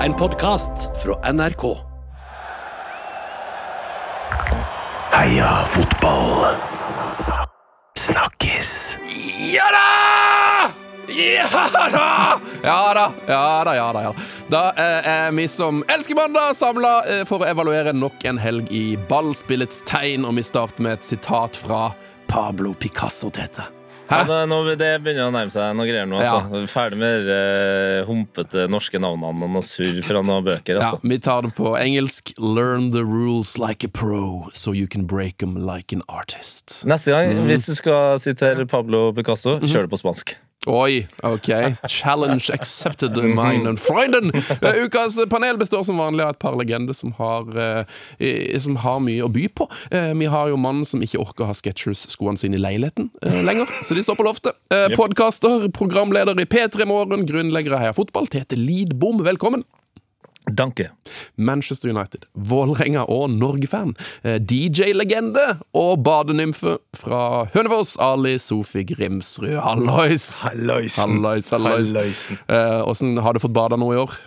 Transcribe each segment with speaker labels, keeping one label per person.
Speaker 1: En podkast fra NRK. Heia fotball! Snakkes! Ja da! Ja da!
Speaker 2: Ja da, ja da, ja da. ja Da, da eh, er vi som elsker mandag, samla eh, for å evaluere nok en helg i ballspillets tegn, og vi starter med et sitat fra Pablo Picasso, Tete.
Speaker 3: Ja, det, er noe- det begynner å nærme seg noe greier nå. Altså. Ferdig med de eh, humpete norske navnene og noe surr fra noen bøker.
Speaker 2: Ja,
Speaker 3: Altså.
Speaker 2: vi tar det på engelsk. Learn the rules like a pro, so you can break them like an artist.
Speaker 3: Neste gang,
Speaker 2: Mm.
Speaker 3: hvis du skal sitere Pablo Picasso,
Speaker 2: Mm-hmm.
Speaker 3: kjør det på spansk.
Speaker 2: Oi, ok. Challenge accepted, meinen Freunden! Eh, Ukas panel består som vanlig av et par legender som har, eh, i- som har mye å by på. Eh, vi har jo mannen som ikke orker å ha Sketchers-skoene sine i leiligheten eh, lenger, så de står på loftet. Eh, Podkaster, programleder i P3 Morgen, grunnlegger av Heia Fotball, Tete Lidbom, velkommen.
Speaker 3: Danke.
Speaker 2: Manchester United, Vålerenga og Norge-fan. eh, DJ-legende og badenymfe fra Hønefoss, Ali Sofi Grimsrud. Hallois!
Speaker 4: Halloisen.
Speaker 2: Hallois, hallois.
Speaker 4: Halloisen.
Speaker 2: Eh, Åssen har du fått bada nå i år?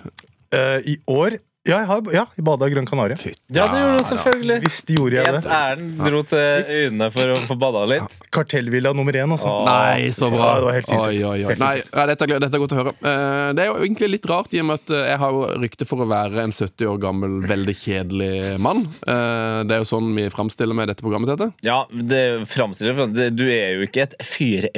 Speaker 4: Eh, I år Ja, jeg har ja, jeg bada i Gran Canaria.
Speaker 3: Ja, det gjorde du selvfølgelig.
Speaker 4: Visst gjorde jeg
Speaker 3: Jens
Speaker 4: det.
Speaker 3: Erlend dro til øynene for å få bada litt.
Speaker 4: Kartellvilla nummer én, altså.
Speaker 3: Åh.
Speaker 2: Nei, så bra!
Speaker 4: Ja, det var helt sinnssykt.
Speaker 2: Oi, oi, oi.
Speaker 4: Helt
Speaker 2: Nei,
Speaker 4: sinnssykt.
Speaker 2: nei, dette, er gl- dette er godt å høre. Eh, det er jo egentlig litt rart, i og med at eh, jeg har jo rykte for å være en 70 år gammel, veldig kjedelig mann. Eh, det er jo sånn vi framstiller med dette programmet. Dette.
Speaker 3: Ja, det framstiller det- Du er jo ikke et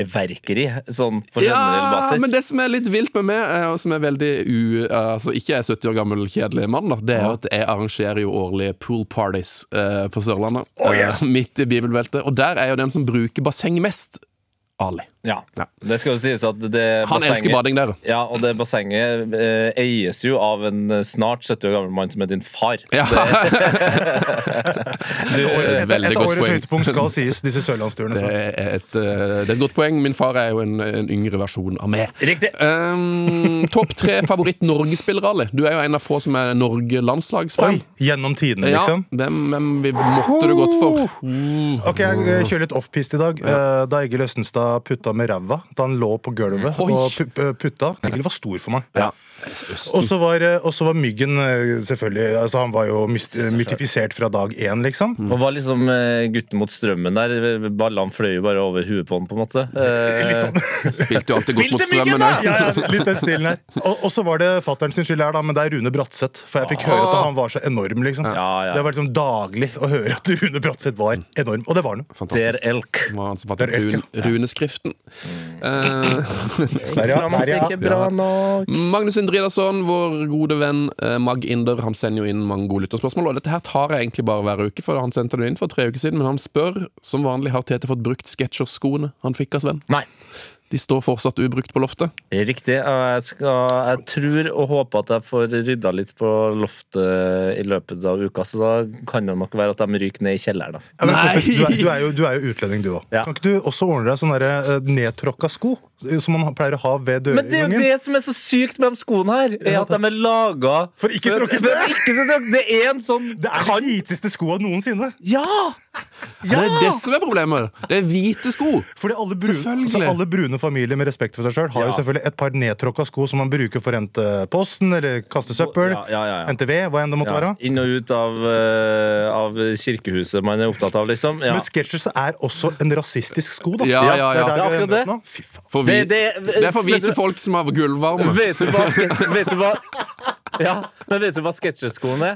Speaker 3: fyrverkeri sånn på generell
Speaker 2: Ja,
Speaker 3: basis.
Speaker 2: men det som er litt vilt med meg, eh, og som er veldig u... eh, Altså ikke er 70 år gammel kjedelig mann, da, det er jo at jeg arrangerer jo årlige pool parties eh, på Sørlandet. eh, midt i bibelbeltet. Og der er jo den som bruker basseng mest, Ali.
Speaker 3: Ja.
Speaker 2: Ja.
Speaker 3: Det skal jo sies at det
Speaker 2: Han elsker bading der.
Speaker 3: Ja, og det bassenget eh, eies jo av en eh, snart 70 år gammel mann som er din far. Så
Speaker 2: Ja.
Speaker 3: det,
Speaker 4: Et,
Speaker 2: Et
Speaker 4: et,
Speaker 2: veldig
Speaker 4: et av
Speaker 2: godt
Speaker 4: årets
Speaker 2: poeng.
Speaker 4: høydepunkt skal sies, disse sørlandsturene.
Speaker 2: Det
Speaker 4: Så.
Speaker 2: er, et, eh, det er et godt poeng. Min far er jo en, en yngre versjon av meg.
Speaker 3: Riktig.
Speaker 2: Um, Topp tre favoritt-Norge-spillere, Ali. Du er jo en av få som er
Speaker 4: Oi,
Speaker 2: Norge-landslagsfan.
Speaker 4: Gjennom tidene,
Speaker 2: Ja,
Speaker 4: liksom.
Speaker 2: hvem, hvem vi måtte du gått for?
Speaker 3: Oh!
Speaker 4: Ok, Jeg eh, kjører litt offpiste i dag. Eh, Da Egil Østenstad putta med ræva da han lå på gulvet
Speaker 2: Oi.
Speaker 4: og pu- pu- putta Egil var stor for meg.
Speaker 2: Ja.
Speaker 4: Og så var, eh, og så var Myggen eh, selvfølgelig altså Han var jo myst- mytifisert fra dag én, liksom.
Speaker 2: Mm.
Speaker 3: Og var liksom eh, gutten mot strømmen der. Ballene fløy jo bare over huet på han, på en måte. Eh,
Speaker 4: Litt sånn
Speaker 2: Spilte jo alltid godt mot strømmen òg.
Speaker 4: Ja, ja, litt den stilen her. Og, og så var det fatteren sin skyld her, da, men det er Rune Bratseth. For jeg fikk høre at han var så enorm, liksom.
Speaker 3: Ja, ja.
Speaker 4: Det var liksom daglig å høre at Rune Bratseth var enorm. Og det var han. jo.
Speaker 3: Der
Speaker 2: Fantastisk.
Speaker 3: elk.
Speaker 2: Det var han som fant opp
Speaker 4: Der elk,
Speaker 2: run, runeskriften. Eh,
Speaker 4: Der, ja, der, ja.
Speaker 3: Ikke bra nok.
Speaker 2: Magnus Indridason, vår gode venn eh, Mag Inder, han sender jo inn mange gode lytterspørsmål. Og dette her tar jeg egentlig bare hver uke, for han sendte det inn for tre uker siden. Men han spør som vanlig har Tete fått brukt Sketchers-skoene han fikk av Sven.
Speaker 3: Nei.
Speaker 2: De står fortsatt ubrukt på loftet.
Speaker 3: Riktig. og Jeg, skal, jeg tror og håper at jeg får rydda litt på loftet eh, i løpet av uka, så da kan det nok være at de ryker ned i kjelleren. Altså.
Speaker 4: Ja, men,
Speaker 2: Nei.
Speaker 4: kompis, du, er, du, er jo, du er jo utlending, du òg.
Speaker 3: Ja.
Speaker 4: Kan ikke du også ordne deg sånne der, eh, nedtråkka sko? Som man pleier å ha ved
Speaker 3: Men det er jo
Speaker 4: dørgangen?
Speaker 3: det som er så sykt med de skoene her, er at de er laga
Speaker 4: For ikke
Speaker 3: å
Speaker 4: tråkkes ned.
Speaker 3: Det er en sånn
Speaker 4: Det er de hviteste skoa noensinne!
Speaker 3: Ja!
Speaker 2: Det er
Speaker 3: ja!
Speaker 2: det som er problemet! Det er hvite sko!
Speaker 4: Fordi alle brune,
Speaker 2: Selvfølgelig.
Speaker 4: altså alle brune familier med respekt for seg sjøl har jo
Speaker 3: Ja.
Speaker 4: selvfølgelig et par nedtråkka sko som man bruker for å hente posten eller kaste søppel.
Speaker 3: Ja, ja, ja, ja.
Speaker 4: Hente ved, hva enn det måtte
Speaker 3: Ja,
Speaker 4: være.
Speaker 3: inn og ut av, eh, av kirkehuset man er opptatt av, liksom. Ja.
Speaker 4: Men Skechers er også en rasistisk sko, da.
Speaker 2: Ja, ja, ja.
Speaker 4: Det er
Speaker 3: Ja,
Speaker 4: der vi
Speaker 3: akkurat
Speaker 4: ender
Speaker 3: det.
Speaker 4: opp nå. Fy faen.
Speaker 2: For vi,
Speaker 3: Det- det-
Speaker 2: det er for
Speaker 3: vet du-
Speaker 2: hvite folk som har gulvvarme.
Speaker 3: Vet du hva, vet du hva ja, men vet du hva sketsjeskoen er?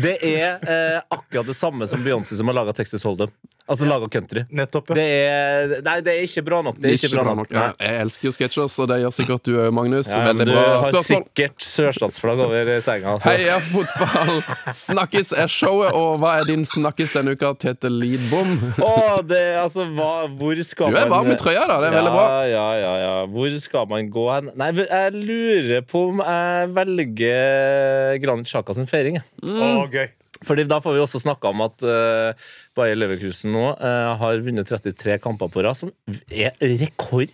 Speaker 3: Det er eh, akkurat det samme som Beyoncé som har laga Texas Hold'em. Altså laga country.
Speaker 4: Nettopp, ja.
Speaker 3: Det er, nei, det er ikke bra nok. Det er ikke bra nok.
Speaker 2: Ja,
Speaker 3: Nei.
Speaker 2: jeg elsker jo Sketchers, og det gjør sikkert du òg, Magnus.
Speaker 3: Ja, men
Speaker 2: Veldig
Speaker 3: du
Speaker 2: bra
Speaker 3: har
Speaker 2: spørsmål.
Speaker 3: sikkert sørstatsflagg over senga. Altså.
Speaker 2: Heia fotball! Snakkes er showet, og hva er din snakkes denne uka, Tete Lidbom?
Speaker 3: Å, det, altså, hva, hvor skal
Speaker 2: Du er
Speaker 3: man
Speaker 2: varm i trøya, da. Det er
Speaker 3: ja,
Speaker 2: veldig bra.
Speaker 3: Ja, ja, ja. Hvor skal man gå hen? Nei, jeg lurer på om jeg velger Granit Xhaka sin feiring. jeg.
Speaker 4: Å, gøy.
Speaker 3: Fordi da får vi også snakka om at uh, Bayer Leverkusen nå eh, har vunnet 33 kamper på rad, som er rekord!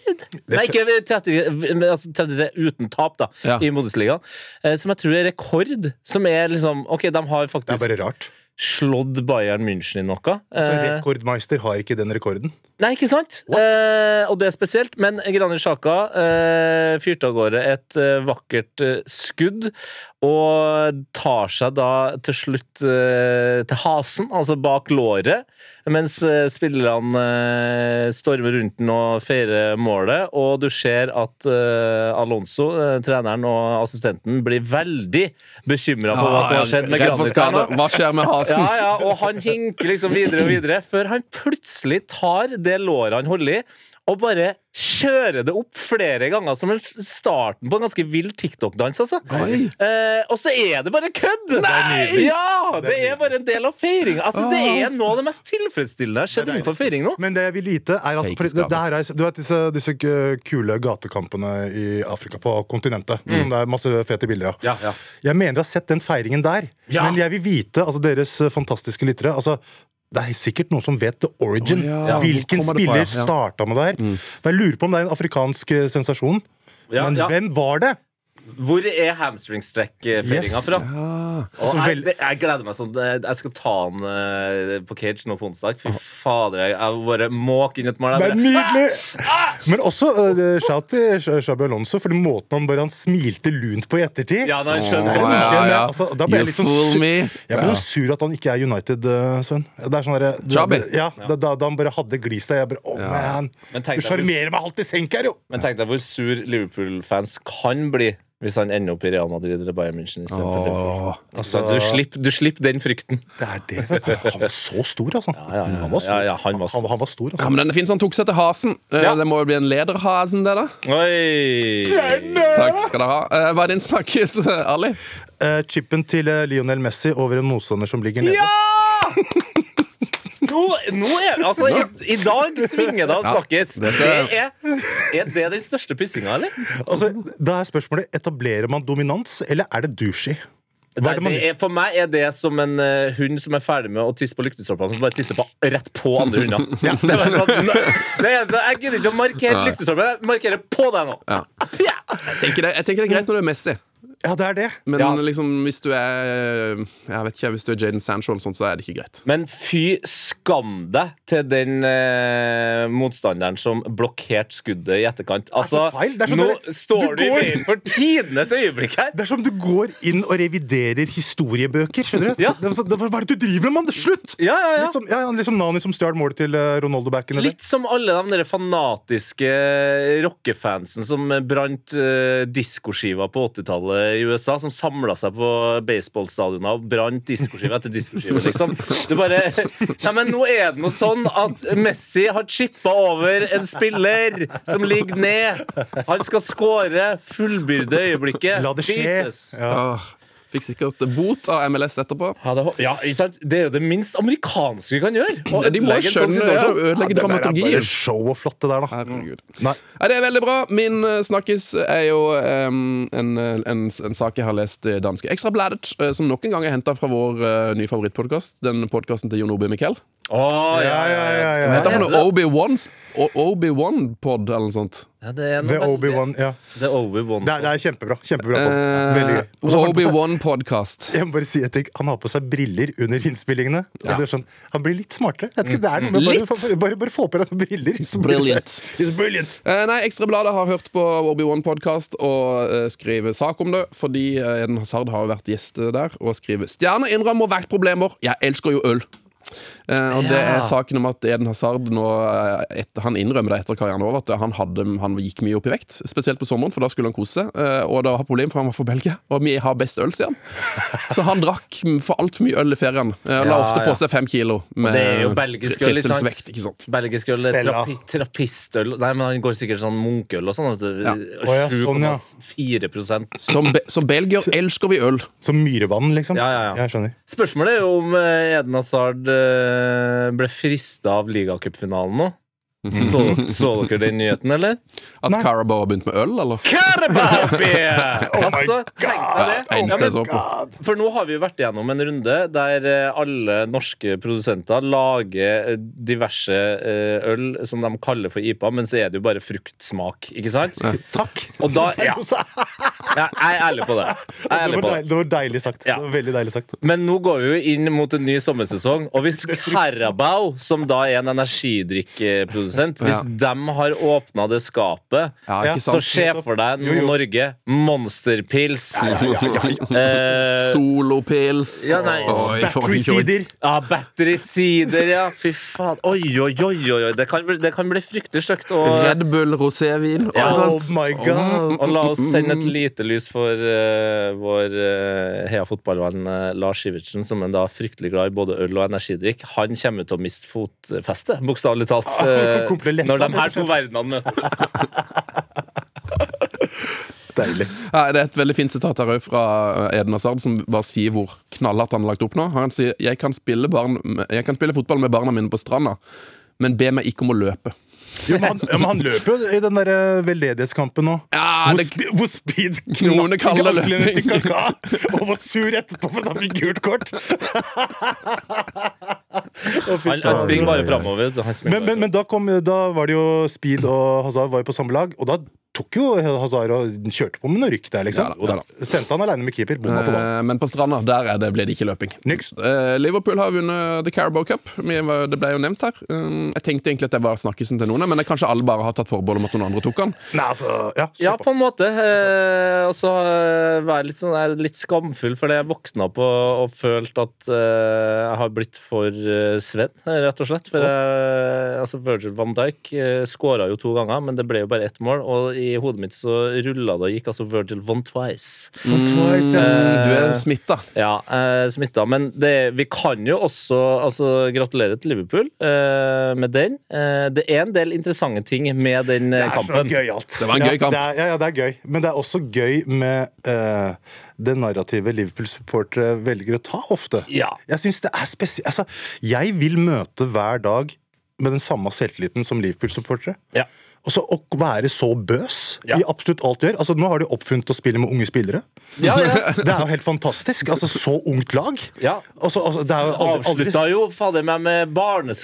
Speaker 3: Nei, ikke 30, men altså 33 uten tap, da,
Speaker 2: Ja.
Speaker 3: i Modesligaen. eh, som jeg tror er rekord. Som er liksom Ok, de har
Speaker 4: Det er
Speaker 3: faktisk
Speaker 4: bare rart.
Speaker 3: slått Bayern München i noe.
Speaker 4: Så
Speaker 3: Eh,
Speaker 4: rekordmeister har ikke den rekorden.
Speaker 3: Nei, ikke sant? Eh, og det er spesielt, men Granit Xhaka eh, fyrte av gårde et eh, vakkert eh, skudd, og tar seg da til slutt eh, til hasen, altså bak låret, mens eh, spillerne eh, stormer rundt den og feirer målet, og du ser at eh, Alonso, eh, treneren og assistenten, blir veldig bekymra for hva som har skjedd med
Speaker 2: Redd for
Speaker 3: Granit. her nå.
Speaker 2: skade. Hva skjer med hasen?
Speaker 3: Ja, ja, og han hinker liksom videre og videre, før han plutselig tar det låret han holder i, og bare kjører det opp flere ganger, som en s- starten på en ganske vill TikTok-dans, altså.
Speaker 2: Oi.
Speaker 3: Eh, og så er det bare kødd!
Speaker 4: nydelig.
Speaker 3: Ja! Det er bare en del av feiringa. Altså, det
Speaker 2: Ah.
Speaker 3: er noe av det mest tilfredsstillende jeg har sett innenfor feiring nå.
Speaker 4: Men det jeg vil vite, er at
Speaker 2: Fake
Speaker 4: fordi det,
Speaker 2: skade.
Speaker 4: det her er, Du vet disse, disse k- kule gatekampene i Afrika, på kontinentet,
Speaker 3: Mm.
Speaker 4: som det er masse fete bilder av. Jeg mener jeg har sett den feiringen der,
Speaker 3: Ja.
Speaker 4: men jeg vil vite, altså deres eh, fantastiske lyttere altså, det er sikkert noen som vet the origin.
Speaker 2: Å, ja.
Speaker 4: Hvilken
Speaker 2: Hvor kommer det fra,
Speaker 4: spiller
Speaker 2: ja? Mm.
Speaker 4: startet starta med det her? For Jeg lurer på om det er en afrikansk eh, sensasjon.
Speaker 3: Ja,
Speaker 4: men
Speaker 3: ja.
Speaker 4: hvem var det?
Speaker 3: Hvor er hamstringstrekk-feiringa
Speaker 4: Yes.
Speaker 3: fra?
Speaker 2: Ah,
Speaker 3: Og
Speaker 4: Som
Speaker 3: jeg,
Speaker 4: vel-
Speaker 3: det- jeg gleder meg sånn. Jeg jeg skal ta han eh, på cage nå på onsdag. Fy fader, jeg, jeg bare måker inn et mål. Jeg
Speaker 4: Det er
Speaker 3: bare-
Speaker 4: nydelig!
Speaker 3: Ah!
Speaker 4: Men også uh, shout til Sh- Xabi Alonso for den måten han bare han smilte lunt på i ettertid.
Speaker 3: Ja, nei, skjønner
Speaker 4: Åh,
Speaker 3: du.
Speaker 4: ja.
Speaker 2: Ja, ja.
Speaker 4: Altså, da ble jeg
Speaker 2: You
Speaker 4: litt sånn
Speaker 2: fool
Speaker 4: sur-
Speaker 2: me.
Speaker 4: Jeg ble
Speaker 2: Ja.
Speaker 4: så sur at han ikke er United, eh, Sven. Det er sånn der,
Speaker 2: Xabi?
Speaker 4: Ja, da, da, da han bare hadde gliset. Jeg bare, oh, man,
Speaker 3: Men tenk deg
Speaker 4: Du
Speaker 3: hvor-
Speaker 4: sjarmerer meg halvt i senk her, jo!
Speaker 3: Men tenk deg hvor sur Liverpool-fans kan bli hvis han ender opp i Real Madrid eller Bayern München. i stedet for Liverpool.
Speaker 2: Åh.
Speaker 3: Altså, du, slipper, du slipper den frykten.
Speaker 4: Det er det, vet du. Han var så stor, altså.
Speaker 3: ja, ja.
Speaker 4: Han var stor.
Speaker 3: Ja, ja, han var stor.
Speaker 4: Han, han var stor
Speaker 2: Ja,
Speaker 4: altså.
Speaker 2: men den er fin, så han tok seg til hasen. Eh,
Speaker 3: Ja.
Speaker 2: Det må jo bli en lederhasen, det, da.
Speaker 3: Oi!
Speaker 2: Takk skal dere ha. Eh, Hva er din snakkis, Ali?
Speaker 4: Eh, chippen til eh, Lionel Messi over en motstander som ligger nede.
Speaker 3: Ja! Nå, nå er Altså, i, i dag svinger det og snakkes. Det
Speaker 2: dette-
Speaker 3: er, er det den største pissinga, eller?
Speaker 4: Altså, da er spørsmålet etablerer man dominans, eller er det douchey? Hva
Speaker 3: Nei,
Speaker 4: er det
Speaker 3: det
Speaker 4: man
Speaker 3: er, for meg er det som en eh, hund som er ferdig med å tisse på lyktestolpene, som bare tisser på, rett på andre hunder. Det er bare sånn, det er så, jeg gidder ikke å markere lyktestolpene. Jeg markerer på deg nå.
Speaker 2: Ja.
Speaker 3: Ja.
Speaker 2: Jeg tenker, det, jeg tenker det er greit når du er Messi,
Speaker 4: Ja, det er det.
Speaker 2: men
Speaker 3: Ja.
Speaker 2: liksom, hvis du er Jeg vet ikke, hvis du er Jaden Sancho, eller sånt, så er det ikke greit.
Speaker 3: Men fy skam deg til den eh, motstanderen som blokkerte skuddet i etterkant. Altså,
Speaker 4: så feil. Det er så
Speaker 3: nå
Speaker 4: dere-
Speaker 3: står
Speaker 4: du
Speaker 3: du i
Speaker 4: går-
Speaker 3: veien for tidenes øyeblikk her.
Speaker 4: Det er som du går inn og reviderer historiebøker. skjønner du?
Speaker 3: Ja.
Speaker 4: Det er sånn, Hva er det du driver med, mann? Slutt!
Speaker 3: Ja, ja, ja.
Speaker 4: Litt som, ja, ja, litt som Nani som stjal målet til eh, Ronaldo back in the day.
Speaker 3: Litt som alle de der fanatiske rockefansen som brant uh, diskoskiva på 80-tallet i USA, som samla seg på baseballstadioner og brant diskoskive etter diskoskive, liksom. Det bare Nei, men nå er det noe sånn at Messi har chippa over en spiller som ligger ned. Han skal skåre. Fullbyrde øyeblikket.
Speaker 4: La det skje.
Speaker 3: Jesus.
Speaker 4: Ja.
Speaker 2: Åh, fikk sikkert bot av MLS etterpå.
Speaker 3: Ja, det, ja, ikke sant? det er jo det minst amerikanske vi kan gjøre. å
Speaker 2: De må jo
Speaker 3: ødelegge en sånn
Speaker 2: skjønne ja,
Speaker 3: situasjon.
Speaker 2: ødelegge
Speaker 4: Det der er bare
Speaker 2: dramaturgien.
Speaker 4: show og flott, det der, da.
Speaker 2: Herregud.
Speaker 4: Nei.
Speaker 2: Nei, det er veldig bra. Min eh, snakkis er jo em, en, eh, en, en sak jeg har lest i danske Ekstrabladet, uh, som nok en gang er henta fra vår eh, nye favorittpodkast, den podkasten til Jon Obi Mikkel.
Speaker 3: Å, ja, ja, ja.
Speaker 2: Hva heter
Speaker 3: Ja,
Speaker 2: han?
Speaker 3: det-
Speaker 2: Obi-Wans Obi-Wan-pod, eller noe sånt?
Speaker 3: ja det er noe
Speaker 4: The
Speaker 3: veldig-
Speaker 4: Obi-Wan. Ja.
Speaker 3: Det er Obi-Wan.
Speaker 4: Det, er- det er kjempebra. kjempebra på. Veldig gøy.
Speaker 2: Eh,
Speaker 4: Og så har han på seg-
Speaker 2: Obi-Wan-podkast.
Speaker 4: jeg må bare si at jeg- Han har på seg briller under innspillingene. Og det er sånn, han blir litt smartere. Jeg vet ikke, det er noe med
Speaker 2: Litt?
Speaker 4: bare, bare, bare, bare få på deg noen briller. så blir det-
Speaker 2: Mm. Brilliant.
Speaker 4: It's brilliant.
Speaker 2: Eh, nei, Ekstrabladet har hørt på Obi-Wan-podkast og eh, skriver sak om det, fordi eh, Eden Hazard har jo vært gjest der og skriver 'Stjerne innrømmer hvert problemer. Jeg elsker jo øl'. Eh, og det
Speaker 3: Ja.
Speaker 2: er saken om at Eden Hazard nå, eh, etter, Han innrømmer det etter karrieren over at han, hadde, han gikk mye opp i vekt, spesielt på sommeren, for da skulle han kose seg. Eh, og det var problem, for han var fra Belgia, og vi har best øl, sier han. Så han drakk for altfor mye øl i ferien. Eh, og la
Speaker 3: Ja,
Speaker 2: ofte
Speaker 3: ja.
Speaker 2: på seg fem kilo med
Speaker 3: det er jo belgisk øl, ikke sant?
Speaker 2: trivselsvekt, ikke sant?
Speaker 3: Belgisk øl,
Speaker 4: Stella.
Speaker 3: trapi, trapistøl Nei, men han går sikkert sånn munkeøl og sånn.
Speaker 2: Ja.
Speaker 3: Ja.
Speaker 4: ja, sånn, ja.
Speaker 3: 7,4
Speaker 2: Som, be som belgier elsker vi øl.
Speaker 4: Som myrevann, liksom.
Speaker 3: Ja, ja, ja.
Speaker 4: Jeg skjønner.
Speaker 3: Spørsmålet er jo om eh, Eden Hazard eh, ble frista av ligacupfinalen nå. Så, så dere den nyheten, eller?
Speaker 2: At Carabao har begynt med øl, eller?
Speaker 3: Karabapi! altså, tenk deg det. Ja,
Speaker 2: Eneste jeg så
Speaker 3: men,
Speaker 2: på.
Speaker 3: for nå har vi jo vært gjennom en runde der eh, alle norske produsenter lager eh, diverse eh, øl som de kaller for IPA, men så er det jo bare fruktsmak, ikke sant?
Speaker 4: Takk!
Speaker 3: Og da, ja,
Speaker 4: Det var
Speaker 3: jeg er ærlig på det. Jeg er ærlig på det.
Speaker 4: deilig, det var deilig sagt.
Speaker 3: Ja.
Speaker 4: Det var veldig deilig sagt.
Speaker 3: Men nå går vi jo inn mot en ny sommersesong, og hvis Carabao, som da er en energidrikkprodusent, hvis de har åpna det skapet,
Speaker 2: Ja,
Speaker 4: Ja,
Speaker 2: ikke
Speaker 3: så
Speaker 2: sant?
Speaker 3: se for deg
Speaker 4: Jo, jo.
Speaker 3: Norge, monsterpils. Eh,
Speaker 2: Solopils.
Speaker 3: Ja, nei,
Speaker 2: Oi, oi, oi.
Speaker 4: Battery-sider.
Speaker 3: ja, batterisider, ja. Fy faen. Oi, oi, oi, oi. oi. Det kan bli, det kan bli fryktelig stygt. Og,
Speaker 2: Red Bull rosévin.
Speaker 3: Ja.
Speaker 2: Å,
Speaker 4: Oh
Speaker 2: sant? Mm.
Speaker 4: my god.
Speaker 3: og la oss sende et lite lys for eh, vår eh, Heia fotballvenn eh, Lars Sivertsen, som er da fryktelig glad i både øl og energidrikk. Han kommer til å miste fotfestet, bokstavelig talt, eh,
Speaker 4: Komplett.
Speaker 3: når de her to verdenene møtes.
Speaker 4: Deilig.
Speaker 2: Ja, det er et veldig fint sitat her òg fra eh, Eden Hazard, som bare sier hvor knallhardt han har lagt opp nå. Han sier jeg kan spille, barn, jeg kan spille fotball med barna mine på stranda, men be meg ikke om å løpe.
Speaker 4: Jo, men, han, ja, men han løper jo i den der eh, veldedighetskampen nå.
Speaker 2: Ja,
Speaker 4: hvor,
Speaker 2: det-
Speaker 4: spi, hvor speed
Speaker 2: Knoene kaller
Speaker 4: knakk i anklene til
Speaker 2: løping.
Speaker 4: Kaká, og var sur etterpå for at han fikk gult kort.
Speaker 3: Han, han springer bare framover.
Speaker 4: Men, men, men da, kom, da var det jo Speed og Hazard var jo på samme lag, og da tok jo Hazard og kjørte på med noe rykk der, liksom.
Speaker 2: Ja da, ja
Speaker 4: Sendte han aleine med keeper. Bomma på ballen.
Speaker 2: Eh, Men på stranda der er det, ble det ikke løping.
Speaker 4: Niks.
Speaker 2: Eh, Liverpool har vunnet The Carabao Cup. Vi var- Det ble jo nevnt her. Eh, Jeg tenkte egentlig at det var snakkisen til noen, men det er kanskje alle bare har tatt forbehold om at noen andre tok den.
Speaker 4: Nei, altså, ja, kjør
Speaker 3: Ja,
Speaker 4: på.
Speaker 3: på en måte. Eh, og så eh, være litt, sånn, jeg er litt skamfull fordi jeg våkna opp og, og følte at eh, jeg har blitt for eh, Sven, eh, rett og slett. For jeg, altså Virgil van Dijk uh, skåra jo to ganger, men det ble jo bare ett mål. Og i hodet mitt så rulla det og gikk altså Virgil von Twice. Eh,
Speaker 2: Mm, Du er smitta.
Speaker 3: Ja, eh, smitta. Men det, vi kan jo også altså, gratulere til Liverpool eh, med den. Eh, det er en del interessante ting med den eh,
Speaker 4: Det er så
Speaker 3: kampen.
Speaker 4: gøyalt.
Speaker 2: Det var en gøy kamp.
Speaker 4: Ja, det er, ja, ja, det er gøy. Men det er også gøy med eh, det narrativet Liverpool-supportere velger å ta ofte.
Speaker 3: Ja.
Speaker 4: Jeg synes det er spesielt altså, Jeg vil møte hver dag med den samme selvtilliten som Liverpool-supportere.
Speaker 3: Ja.
Speaker 4: Og så å være så bøs
Speaker 3: Ja.
Speaker 4: i absolutt alt du gjør. Altså, nå har de oppfunnet å spille med unge spillere.
Speaker 3: Ja, ja.
Speaker 4: Det er jo helt fantastisk. Altså, så ungt lag.
Speaker 3: Ja.
Speaker 4: Altså, altså, det er jo aldri, aldri
Speaker 3: Avslutta jo fader meg med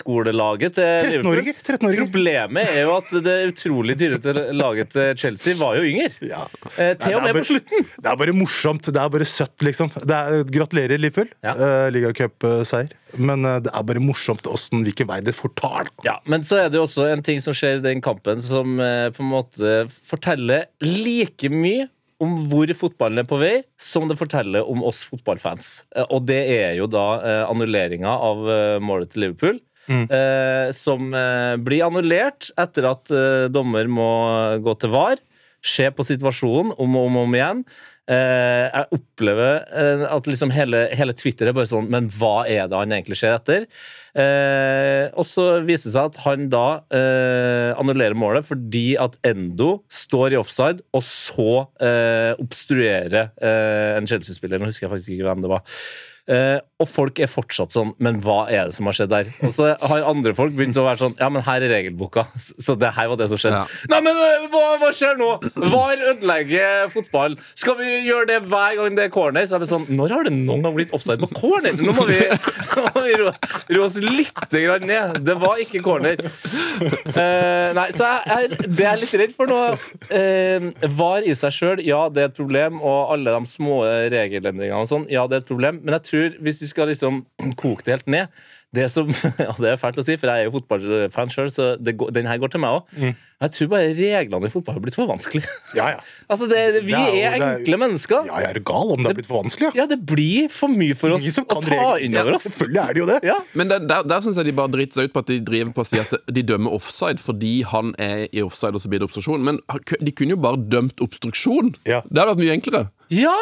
Speaker 3: barneskolelaget til Liverpool.
Speaker 4: 13-åringer. 13-åringer.
Speaker 3: Problemet er jo at det utrolig dyre til- laget til Chelsea var jo yngre.
Speaker 4: Ja.
Speaker 3: Eh, til og
Speaker 4: Nei,
Speaker 3: med
Speaker 4: det er
Speaker 3: på slutten.
Speaker 4: bare- Det er bare morsomt. Det er bare søtt, liksom. Det er, gratulerer, Liverpool.
Speaker 3: Ja.
Speaker 4: Eh, Ligacup-seier. Men eh, det er bare morsomt åssen hvilken vei det får ta. da.
Speaker 3: Ja, Men så er det jo også en ting som skjer i den kampen som eh, på en måte forteller like mye om hvor fotballen er på vei, som det forteller om oss fotballfans. Eh, Og det er jo da eh, annulleringa av eh, målet til Liverpool. Eh, som eh, blir annullert etter at eh, dommer må gå til VAR. Se på situasjonen om og om, og om igjen. Eh, jeg opplever eh, at liksom hele, hele Twitter er bare sånn Men hva er det han egentlig ser etter? Eh, og så viser det seg at han da eh, annullerer målet fordi at Endo står i offside, og så eh, obstruerer eh, en Chelsea-spiller. Nå husker jeg faktisk ikke hvem det var. Eh, og folk er fortsatt sånn Men hva er det som har skjedd der? Og så har andre folk begynt å være sånn Ja, men her er regelboka. Så så det her var det som skjedde.
Speaker 2: Ja.
Speaker 3: Nei, men eh, hva, hva skjer nå? VAR ødelegger fotballen. Skal vi gjøre det hver gang det er corner? Så er det sånn, Når har det noen gang blitt offside på corner? Nå må vi, nå må vi ro, ro oss litt grann ned. Det var ikke corner. Eh, nei, så jeg, jeg, Det jeg er litt redd for nå eh, VAR i seg sjøl, ja, det er et problem. Og alle de små regelendringene og sånn, ja, det er et problem. Men jeg tror hvis vi skal liksom koke det helt ned det som, ja, det er fælt å si, for jeg er jo fotballfan sjøl, så det går, den her går til meg òg. Jeg tror bare reglene i fotball har blitt for vanskelige.
Speaker 4: Ja, ja.
Speaker 3: altså, det, vi
Speaker 4: Det er
Speaker 3: er
Speaker 4: jo- det er-
Speaker 3: enkle mennesker.
Speaker 4: ja, jeg er gal om det har blitt for vanskelig.
Speaker 3: Ja,
Speaker 4: Ja.
Speaker 3: det blir for mye for
Speaker 4: Ingen
Speaker 3: oss
Speaker 4: som
Speaker 3: å
Speaker 4: kan
Speaker 3: ta
Speaker 4: reglene.
Speaker 3: inn over oss.
Speaker 4: Selvfølgelig er det jo det.
Speaker 3: Ja.
Speaker 2: Men der, der, der syns jeg de bare driter seg ut på at de driver på å si at de dømmer offside fordi han er i offside, og så blir det obstruksjon. Men ha- ku- de kunne jo bare dømt obstruksjon.
Speaker 4: Ja.
Speaker 2: Det hadde vært mye enklere.
Speaker 3: Ja!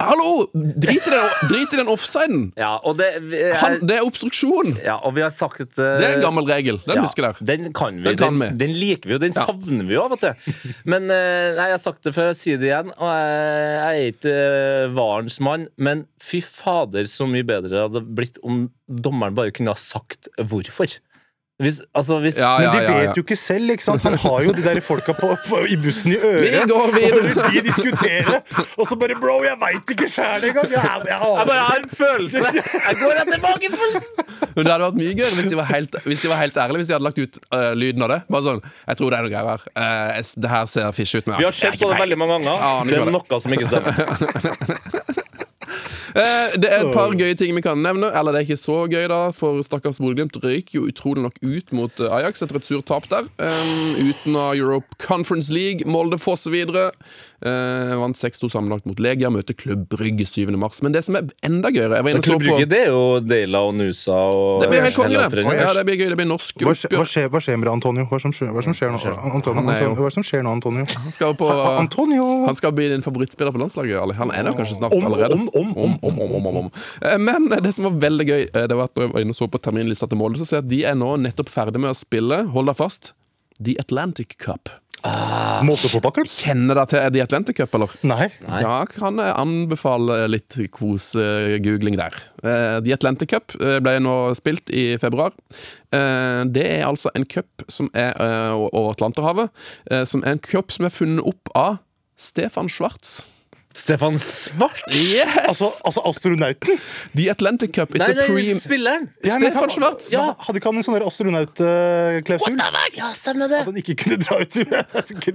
Speaker 2: Hallo! Drit i den, drit i den offsiden!
Speaker 3: ja, og det vi er-
Speaker 2: Han, det er obstruksjon!
Speaker 3: ja, og vi har sagt eh,
Speaker 2: Det
Speaker 4: Eh,
Speaker 2: er en gammel regel. Den
Speaker 3: ja,
Speaker 2: husker jeg.
Speaker 3: Den kan vi.
Speaker 2: Den
Speaker 3: Den,
Speaker 2: kan
Speaker 3: den,
Speaker 2: vi.
Speaker 3: liker vi jo. Den savner vi jo av og til. Men eh, nei, jeg har sagt det før, jeg sier det igjen, og jeg, jeg er ikke eh, varens mann, men fy fader så mye bedre det hadde blitt om dommeren bare kunne ha sagt hvorfor. Hvis, altså, hvis,
Speaker 2: Ja, ja,
Speaker 4: Men de
Speaker 2: ja, ja.
Speaker 4: vet jo ikke selv, ikke sant? Han har jo de der folka på, på, i bussen i øret.
Speaker 2: Vi går videre.
Speaker 4: Og når de diskuterer. Og så bare Bro, jeg veit ikke sjæl engang! Jeg, jeg,
Speaker 3: Jeg
Speaker 4: aner
Speaker 3: bare har en følelse. Jeg går etter magefølelsen.
Speaker 2: Men det hadde vært mye gøyere hvis de var helt, hvis de var helt ærlige. Hvis de hadde lagt ut øh, lyden av det. Bare sånn Jeg tror det er noe greier her. Eh, jeg s- det her ser fishy ut. Men
Speaker 3: Vi har
Speaker 2: jeg
Speaker 3: sett på det veldig mange ganger.
Speaker 2: Ja,
Speaker 3: Det
Speaker 2: det
Speaker 3: er
Speaker 2: er
Speaker 3: noe som ikke stemmer.
Speaker 2: Eh, Det er et par gøye ting vi kan nevne. Eller det er ikke så gøy, da, for stakkars Bodø-Glimt røyk jo utrolig nok ut mot eh, Ajax etter et surt tap der. Um, uten av Europe Conference League. Molde fosser videre. Eh, vant 6-2 sammenlagt mot Legia. Møter Klubb Brygge 7. mars. Men det som er enda gøyere Jeg var inne og så på
Speaker 3: Klubb Brygge, det er jo Dela og Nusa og
Speaker 2: det blir helt konge, det.
Speaker 3: Eller-
Speaker 2: Ja, det blir gøy. Det blir norsk
Speaker 4: hva, skje- hva,
Speaker 2: oppgjør.
Speaker 4: skjer, hva skjer med det, Antonio? Hva som skjer, hva som skjer nå? Antonio,
Speaker 2: Han er jo-
Speaker 4: Antonio, hva som skjer nå, Antonio?
Speaker 2: Han skal, på,
Speaker 4: Antonio!
Speaker 2: han skal bli din favorittspiller på landslaget. Ali. Han er det kanskje snart
Speaker 4: Om,
Speaker 2: allerede.
Speaker 4: om, om, om,
Speaker 2: om, om, om, om. Eh, Men det som var veldig gøy, eh, det var at når jeg var inne og så på terminlista til Molde, så ser jeg at de er nå nettopp ferdig med å spille, hold deg fast, The Atlantic Cup.
Speaker 4: Motorfotballklubb?
Speaker 2: Kjenner dere til The Atlantic Cup, eller?
Speaker 4: Nei.
Speaker 2: Da kan jeg anbefale litt kos-googling der. Eh, The Atlantic Cup eh, ble nå spilt i februar. Eh, Det er altså en cup som er eh, over Atlanterhavet. eh, Som er en cup som er funnet opp av Stefan Schwartz.
Speaker 3: Stefan Svart?
Speaker 2: Yes!
Speaker 4: Altså, altså astronauten?
Speaker 2: The Atlantic Cup is
Speaker 3: Nei,
Speaker 2: a
Speaker 3: det er
Speaker 2: pre...
Speaker 3: spilleren.
Speaker 4: Ja, men
Speaker 2: Stefan
Speaker 4: han-
Speaker 2: Schwartz!
Speaker 4: Ja, hadde ikke han en sånn der astronautklausul?
Speaker 3: Ja, stemmer det.
Speaker 4: At han ikke kunne dra ut, kunne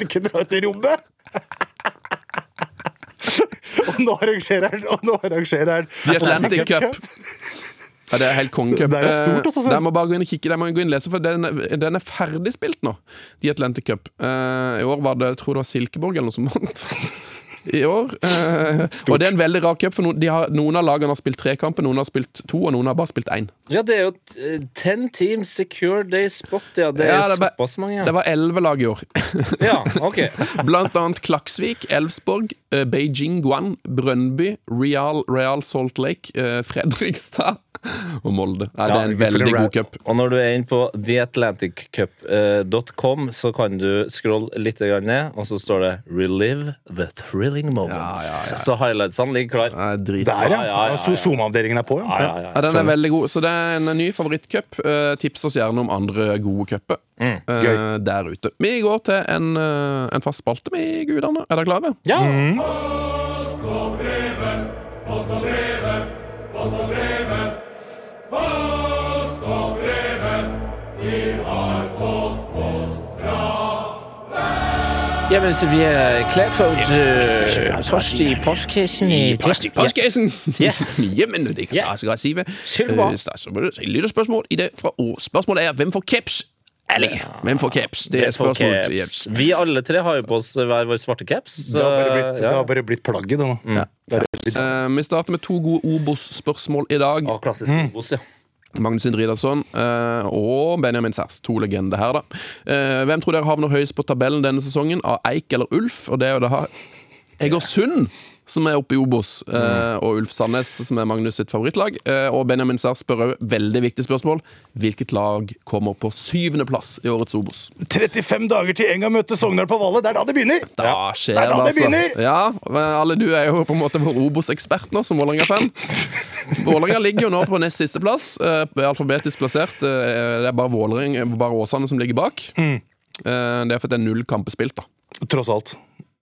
Speaker 4: ikke dra ut i rommet? og nå arrangerer han og nå arrangerer han
Speaker 2: The Atlantic Cup. Ja, det er helt kongecup. Eh,
Speaker 4: Det er jo stort, altså.
Speaker 2: Der må bare gå inn og kikke, der må jeg gå inn og lese, for den, er- den er ferdigspilt nå. The Atlantic Cup. Eh, I år var det, jeg tror det var Silkeborg eller noe som vant. I år. Eh, og det er en veldig rar cup, for noen, de har, noen av lagene har spilt tre kamper, noen har spilt to, og noen har bare spilt én.
Speaker 3: Ja, det er jo eh, 10 teams secure day spot. Ja, det er
Speaker 2: Ja, det er bare-
Speaker 3: såpass mange.
Speaker 2: Det
Speaker 3: Ja.
Speaker 2: var elleve lag i år.
Speaker 3: ja, ok.
Speaker 2: Blant annet Klaksvik, Elfsborg, eh, Beijing Guan, Brønnby, Real, Real Salt Lake, eh, Fredrikstad og Molde. Nei, det er en
Speaker 4: Ja, vi følger
Speaker 2: veldig god
Speaker 4: rap.
Speaker 2: cup.
Speaker 3: Og når du er inne på theatlanticcup.com, så kan du scrolle litt grann ned, og så står det 'Relive the thrilling moments'. Så highlightsene ligger klar.
Speaker 2: Nei, drit.
Speaker 4: Der, ja.
Speaker 3: Ja, ja, ja, ja.
Speaker 4: So- SoMe-avdelingen er på, ja.
Speaker 3: Ja, ja, ja.
Speaker 2: Ja, den er veldig god. Så det er en ny favorittcup. Eh, tips oss gjerne om andre gode cuper eh,
Speaker 4: gøy.
Speaker 2: der ute. Vi går til en, eh, en fast spalte, vi gudene. Er dere klare?
Speaker 3: Ja. Ja, men så vi er klar for et post i postkassen i
Speaker 2: Postkassen!
Speaker 3: Ja.
Speaker 2: Jamen, det kan
Speaker 3: Ja.
Speaker 2: jeg sikkert si. ved.
Speaker 3: Silkeborg.
Speaker 2: Eh, så- så må du si Lytterspørsmål i det fra og Spørsmålet er hvem får caps? Ali! Hvem får caps? Det er spørsmålet. til Jeps.
Speaker 3: Vi alle tre har jo på oss hver vår svarte caps.
Speaker 4: Det har bare blitt, det
Speaker 3: ja.
Speaker 4: har bare blitt plagget, det nå.
Speaker 2: Eh, vi starter med to gode Obos-spørsmål i dag.
Speaker 3: Å, klassisk Obos, ja.
Speaker 2: Magnus Indridason eh, og Benjamin Særs. To legender her, da. Eh, hvem tror dere havner høyest på tabellen denne sesongen, av Eik eller Ulf? Og det er jo da Egersund som er oppe i Obos, eh, og Ulf Sandnes, som er Magnus sitt favorittlag. Eh, og Benjamin Særs spør òg veldig viktig spørsmål. Hvilket lag kommer på syvendeplass i årets Obos?
Speaker 4: 35 dager til Enga møter Sogndal på Valle. Det er da det begynner!
Speaker 2: Da skjer
Speaker 4: det er
Speaker 2: det,
Speaker 4: da det
Speaker 2: altså.
Speaker 4: begynner!
Speaker 2: Ja, men alle du er jo på en måte vår Obos-ekspert nå, som Vålerenga-fan. Vålerenga ligger jo nå på nest siste plass, eh, alfabetisk plassert. Eh, det er bare Vålerenga, bare Åsane som ligger bak.
Speaker 4: Mm.
Speaker 2: Eh, det er fordi det er null kamper spilt, da.
Speaker 4: Tross alt.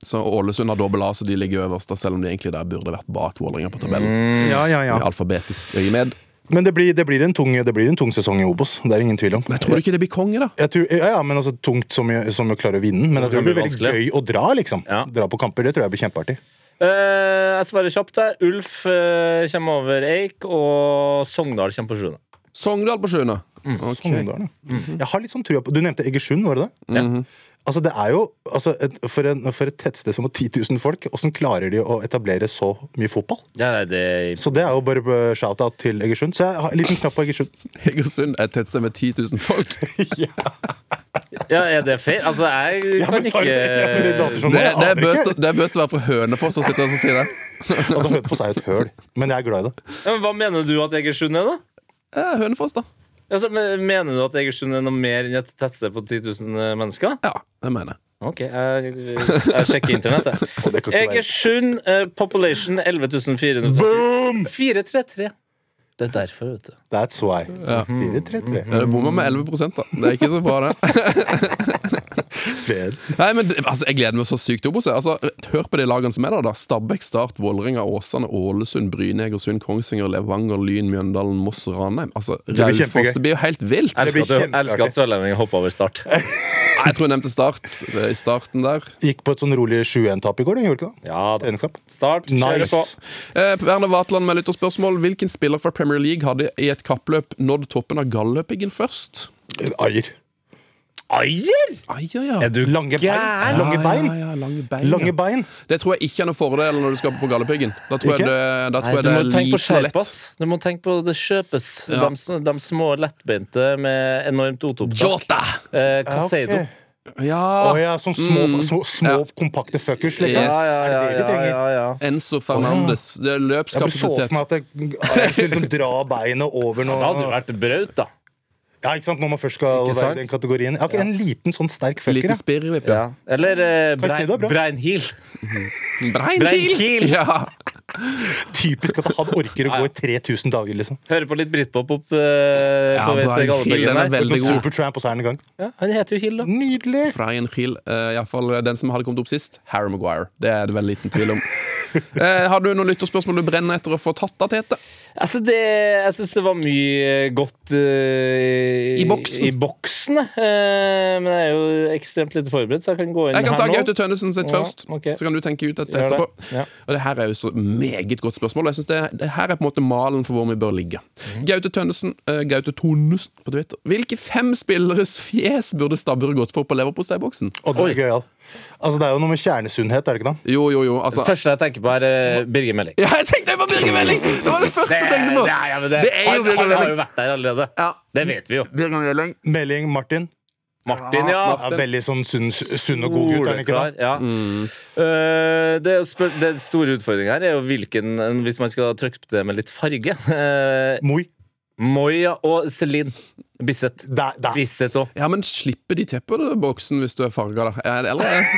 Speaker 2: Så Ålesund har dobbel A, så de ligger øverst, da, selv om de egentlig der burde vært bak Vålerenga på tabellen.
Speaker 4: Ja, Mm, ja, ja.
Speaker 2: I alfabetisk øyemed.
Speaker 4: Men det blir, det, blir en tung, det blir en tung sesong i Obos. Det er ingen tvil om.
Speaker 2: Men tror du ikke det blir konge, da?
Speaker 4: Jeg tror, ja, ja, men altså Tungt som, i- som å klare å vinne, men jeg tror
Speaker 3: Det
Speaker 4: det blir
Speaker 3: blir
Speaker 4: veldig gøy å dra. liksom
Speaker 3: Ja.
Speaker 4: Dra på kamper, det tror jeg blir kjempeartig.
Speaker 3: Eh, jeg svarer kjapt. Jeg. Ulf eh, kommer over Eik, og Sogndal kommer på sjuende.
Speaker 2: Sogndal på sjuende. Ok.
Speaker 4: Sogndal, ja. Sånn Jeg har litt sånn trua på Du nevnte Egersund, var det det? Altså det er jo altså et, for, en, for et tettsted som har 10 000 folk, åssen klarer de å etablere så mye fotball?
Speaker 3: Ja, nei, det er
Speaker 4: Så det er jo bare eh, shout-out til Egersund. Så jeg har en liten knapp på Egersund.
Speaker 2: Egersund er et tettsted med 10 000 folk.
Speaker 3: Ja, er det feil? Altså, jeg
Speaker 4: Ja,
Speaker 3: kan
Speaker 4: men tar- ja, men det later
Speaker 3: ikke
Speaker 4: som
Speaker 2: Det,
Speaker 4: jeg
Speaker 2: det,
Speaker 4: aner
Speaker 2: bør
Speaker 4: ikke.
Speaker 2: stå- det bør stå være fra Hønefoss å sitte og si det.
Speaker 4: Altså, Hønefoss er jo et høl, men jeg er glad i det.
Speaker 3: ja, men Hva mener du at Egersund er, da?
Speaker 2: Eh, Hønefoss, da.
Speaker 3: Altså, men- mener du at Egersund er noe mer enn et tettsted på 10 000 mennesker?
Speaker 2: Ja, det mener jeg.
Speaker 3: Ok, jeg, jeg sjekker internett, jeg.
Speaker 4: Og det kan ikke være
Speaker 3: Egersund, eh, population 11 434. Det er derfor, vet du.
Speaker 4: That's why. 4-3-3.
Speaker 2: Det Eh, bomma med 11 da. Det er ikke så bra, det.
Speaker 4: Sved.
Speaker 2: Nei, men det- altså, Jeg gleder meg så sykt opp. Bosse. Altså, hør på de lagene som er der. da Stabæk, Start, Vålerenga, Åsane, Ålesund, Bryne, Egersund, Kongsvinger, Levanger, Lyn, Mjøndalen, Moss, Ranheim. Altså,
Speaker 4: blir
Speaker 2: Raufoss.
Speaker 4: kjempegøy.
Speaker 2: Det blir jo helt vilt. Nei,
Speaker 3: Jeg
Speaker 4: blir
Speaker 3: elsker at, du- jeg
Speaker 4: kjempeartig.
Speaker 3: elsker at sørlendingen hoppa over start.
Speaker 2: Jeg tror jeg nevnte Start eh, i starten der.
Speaker 4: Gikk på et sånn rolig 7-1-tap i går, den gjorde ikke det?
Speaker 3: Ja da.
Speaker 4: Egenskap.
Speaker 3: Start, kjøre
Speaker 4: Nice.
Speaker 3: på.
Speaker 2: Eh, Werner Vatland med lytterspørsmål. Hvilken spiller fra Premier League hadde i et kappløp nådd toppen av galløpingen først?
Speaker 4: Aier.
Speaker 3: Ayer!
Speaker 2: Ai, ja, ja.
Speaker 3: Er du
Speaker 4: Lange bein.
Speaker 3: gæren?
Speaker 4: Lange bein.
Speaker 2: Ja, ja, ja, lange bein,
Speaker 4: Lange
Speaker 2: ja.
Speaker 4: bein.
Speaker 2: Det tror jeg ikke er noen fordel når du skal på Galdhøpiggen. Da tror jeg
Speaker 4: Ikke?
Speaker 2: det, da tror
Speaker 3: Nei,
Speaker 2: jeg
Speaker 3: du
Speaker 2: det
Speaker 3: må
Speaker 2: er
Speaker 3: tenke
Speaker 2: like
Speaker 3: på
Speaker 2: lett.
Speaker 3: skjerp, ass. Du må tenke på det kjøpes.
Speaker 2: Ja.
Speaker 3: De, s- de små lettbeinte med enormt otopptak.
Speaker 2: Jota!
Speaker 3: Eh,
Speaker 4: Ja, ok.
Speaker 3: Caseido.
Speaker 4: Å
Speaker 2: Ja.
Speaker 4: ja, sånn små,
Speaker 2: Mm.
Speaker 4: små, små kompakte fuckers, liksom.
Speaker 2: Yes.
Speaker 3: Ja, ja, ja,
Speaker 4: Er det
Speaker 3: ja,
Speaker 4: det vi trenger?
Speaker 3: ja, ja.
Speaker 2: Enzo Fernandes. Det er
Speaker 4: Jeg ble så for
Speaker 2: løpskapasitet.
Speaker 4: meg at jeg, jeg skulle liksom dra beinet over
Speaker 3: Det hadde jo
Speaker 4: noe
Speaker 3: vært braut, da.
Speaker 4: Ja, ikke sant? Når man først skal
Speaker 3: Ikke sant?
Speaker 4: være i den kategorien. Ja, ok, En liten sånn sterk fucker,
Speaker 2: Liten
Speaker 4: ja.
Speaker 2: spirrevipp, ja.
Speaker 3: Ja. Eller eh,
Speaker 4: Caseido er bra.
Speaker 3: Breinhil.
Speaker 2: Breinkiel!
Speaker 3: Breinkiel!
Speaker 2: Ja.
Speaker 4: Typisk at han orker å gå i 3000 dager, liksom.
Speaker 3: Hører på litt britpop opp eh,
Speaker 2: Ja,
Speaker 3: på vei til
Speaker 2: Brian Hill,
Speaker 3: Galdhøpiggen
Speaker 2: den er
Speaker 3: her.
Speaker 2: veldig god.
Speaker 4: Supertramp, og så er han i gang.
Speaker 3: Ja, han heter jo Hill, da.
Speaker 4: Nydelig!
Speaker 2: Brian Hill, eh, i hvert fall den som hadde kommet opp sist. Harry Maguire. Det er det vel liten tvil om. Eh, har du noen lytterspørsmål du brenner etter å få tatt av Tete?
Speaker 3: Altså det, jeg syns det var mye godt eh,
Speaker 2: I boksen.
Speaker 3: i boksen, eh, men jeg er jo ekstremt lite forberedt, så jeg kan gå inn
Speaker 2: Jeg kan ta
Speaker 3: her nå.
Speaker 2: Gaute Tønnesen sitt
Speaker 3: Ja,
Speaker 2: først,
Speaker 3: ok.
Speaker 2: så kan du tenke ut dette
Speaker 3: Gjør det.
Speaker 2: etterpå.
Speaker 3: Ja.
Speaker 2: Og det her er jo så meget godt spørsmål. og Jeg synes det, det her er på en måte malen for hvor vi bør ligge.
Speaker 3: Mhm.
Speaker 2: Gaute Tønnesen, eh, Gaute Tonesen på Twitter. Hike fem spilleres fjes burde Stabburet gått for på leverposteiboksen?
Speaker 4: Og det er gøy, ja. Altså, det er jo noe med kjernesunnhet, er det ikke det?
Speaker 2: Jo, jo, jo.
Speaker 3: Det
Speaker 2: Altså.
Speaker 3: første jeg tenker på, er eh, Birger Meling.
Speaker 2: Ja, jeg tenkte på Birger Meling! Det var det første jeg tenkte på!
Speaker 3: Det, er- ja, men det,
Speaker 2: Det er jo
Speaker 3: han,
Speaker 2: Birger
Speaker 3: han har
Speaker 2: Meling.
Speaker 3: jo vært der allerede.
Speaker 2: Ja.
Speaker 3: Det vet vi jo.
Speaker 2: Birger Meling.
Speaker 4: Meling Martin
Speaker 3: Martin, ja.
Speaker 2: Ja,
Speaker 4: er veldig sånn sunn, sunn og god gutt, er han ikke det?
Speaker 3: Soleklar, Ja.
Speaker 2: Mm.
Speaker 3: Eh, det, er jo spør- det store utfordringen her er jo hvilken, hvis man skal trykke det med litt farge uh,
Speaker 4: Moi.
Speaker 3: Moya og Celine Bissett.
Speaker 4: Der, der.
Speaker 3: Bissett òg.
Speaker 2: Ja, men slipper de til på det, boksen hvis du er farga, da? Er det- Eller er-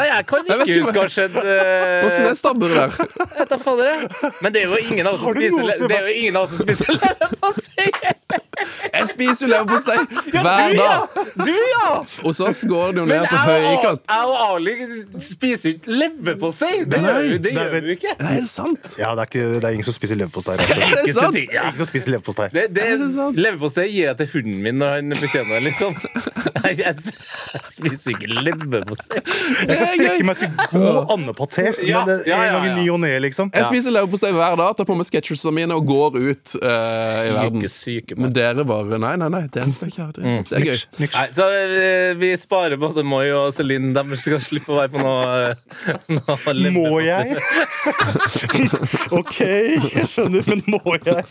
Speaker 3: Nei, jeg kan
Speaker 2: Jeg vet
Speaker 3: ikke
Speaker 2: ikke
Speaker 3: huske hva har skjedd. eh,
Speaker 2: Åssen er stabburet der?
Speaker 3: Jeg tar fader, jeg. Men det er jo ingen av oss som
Speaker 4: Har du noe
Speaker 3: spiser le-
Speaker 4: som er-
Speaker 3: Det er jo ingen av oss som spiser leverpostei!
Speaker 2: Jeg spiser jo leverpostei hver
Speaker 3: Du, ja!
Speaker 2: dag!
Speaker 3: Du, ja!
Speaker 2: Og så går det jo
Speaker 3: Men
Speaker 2: ned
Speaker 3: jeg
Speaker 2: på
Speaker 3: og,
Speaker 2: høykant.
Speaker 3: jeg og Ali spiser jo ikke leverpostei! Det
Speaker 4: Nei,
Speaker 3: gjør vi, det
Speaker 4: det er
Speaker 3: gjør
Speaker 4: vel-
Speaker 3: vi jo ikke.
Speaker 2: Nei, Er det sant?
Speaker 4: Ja, det er, ikke, det er ingen som spiser leverpostei. Altså.
Speaker 2: Er det
Speaker 3: Ikke så
Speaker 2: sant?
Speaker 3: tidlig,
Speaker 4: Det
Speaker 3: ja.
Speaker 4: er Ingen som spiser leverpostei.
Speaker 3: Det, det,
Speaker 2: Er det sant?
Speaker 3: leverpostei gir jeg til hunden min når han fortjener det, liksom. Nei, jeg, sp- jeg spiser ikke leverpostei.
Speaker 4: Jeg kan strekke meg til god andepaté,
Speaker 3: Ja,
Speaker 4: men det er
Speaker 3: ja,
Speaker 4: en
Speaker 3: ja,
Speaker 4: gang
Speaker 3: ja.
Speaker 4: i ny og ne, liksom.
Speaker 2: Jeg spiser leverpostei hver dag, tar på meg sketchersene mine og går ut eh, i verden.
Speaker 3: Syke, syke
Speaker 2: Men
Speaker 3: mann.
Speaker 2: dere bare Nei, nei, nei. Det skal jeg ikke ha. Det, det er gøy.
Speaker 3: Nei, så eh, vi sparer både Moi og Celine. De skal slippe å være på noe, noe
Speaker 4: Må
Speaker 3: leverpostei.
Speaker 4: jeg? OK, jeg skjønner, men må jeg?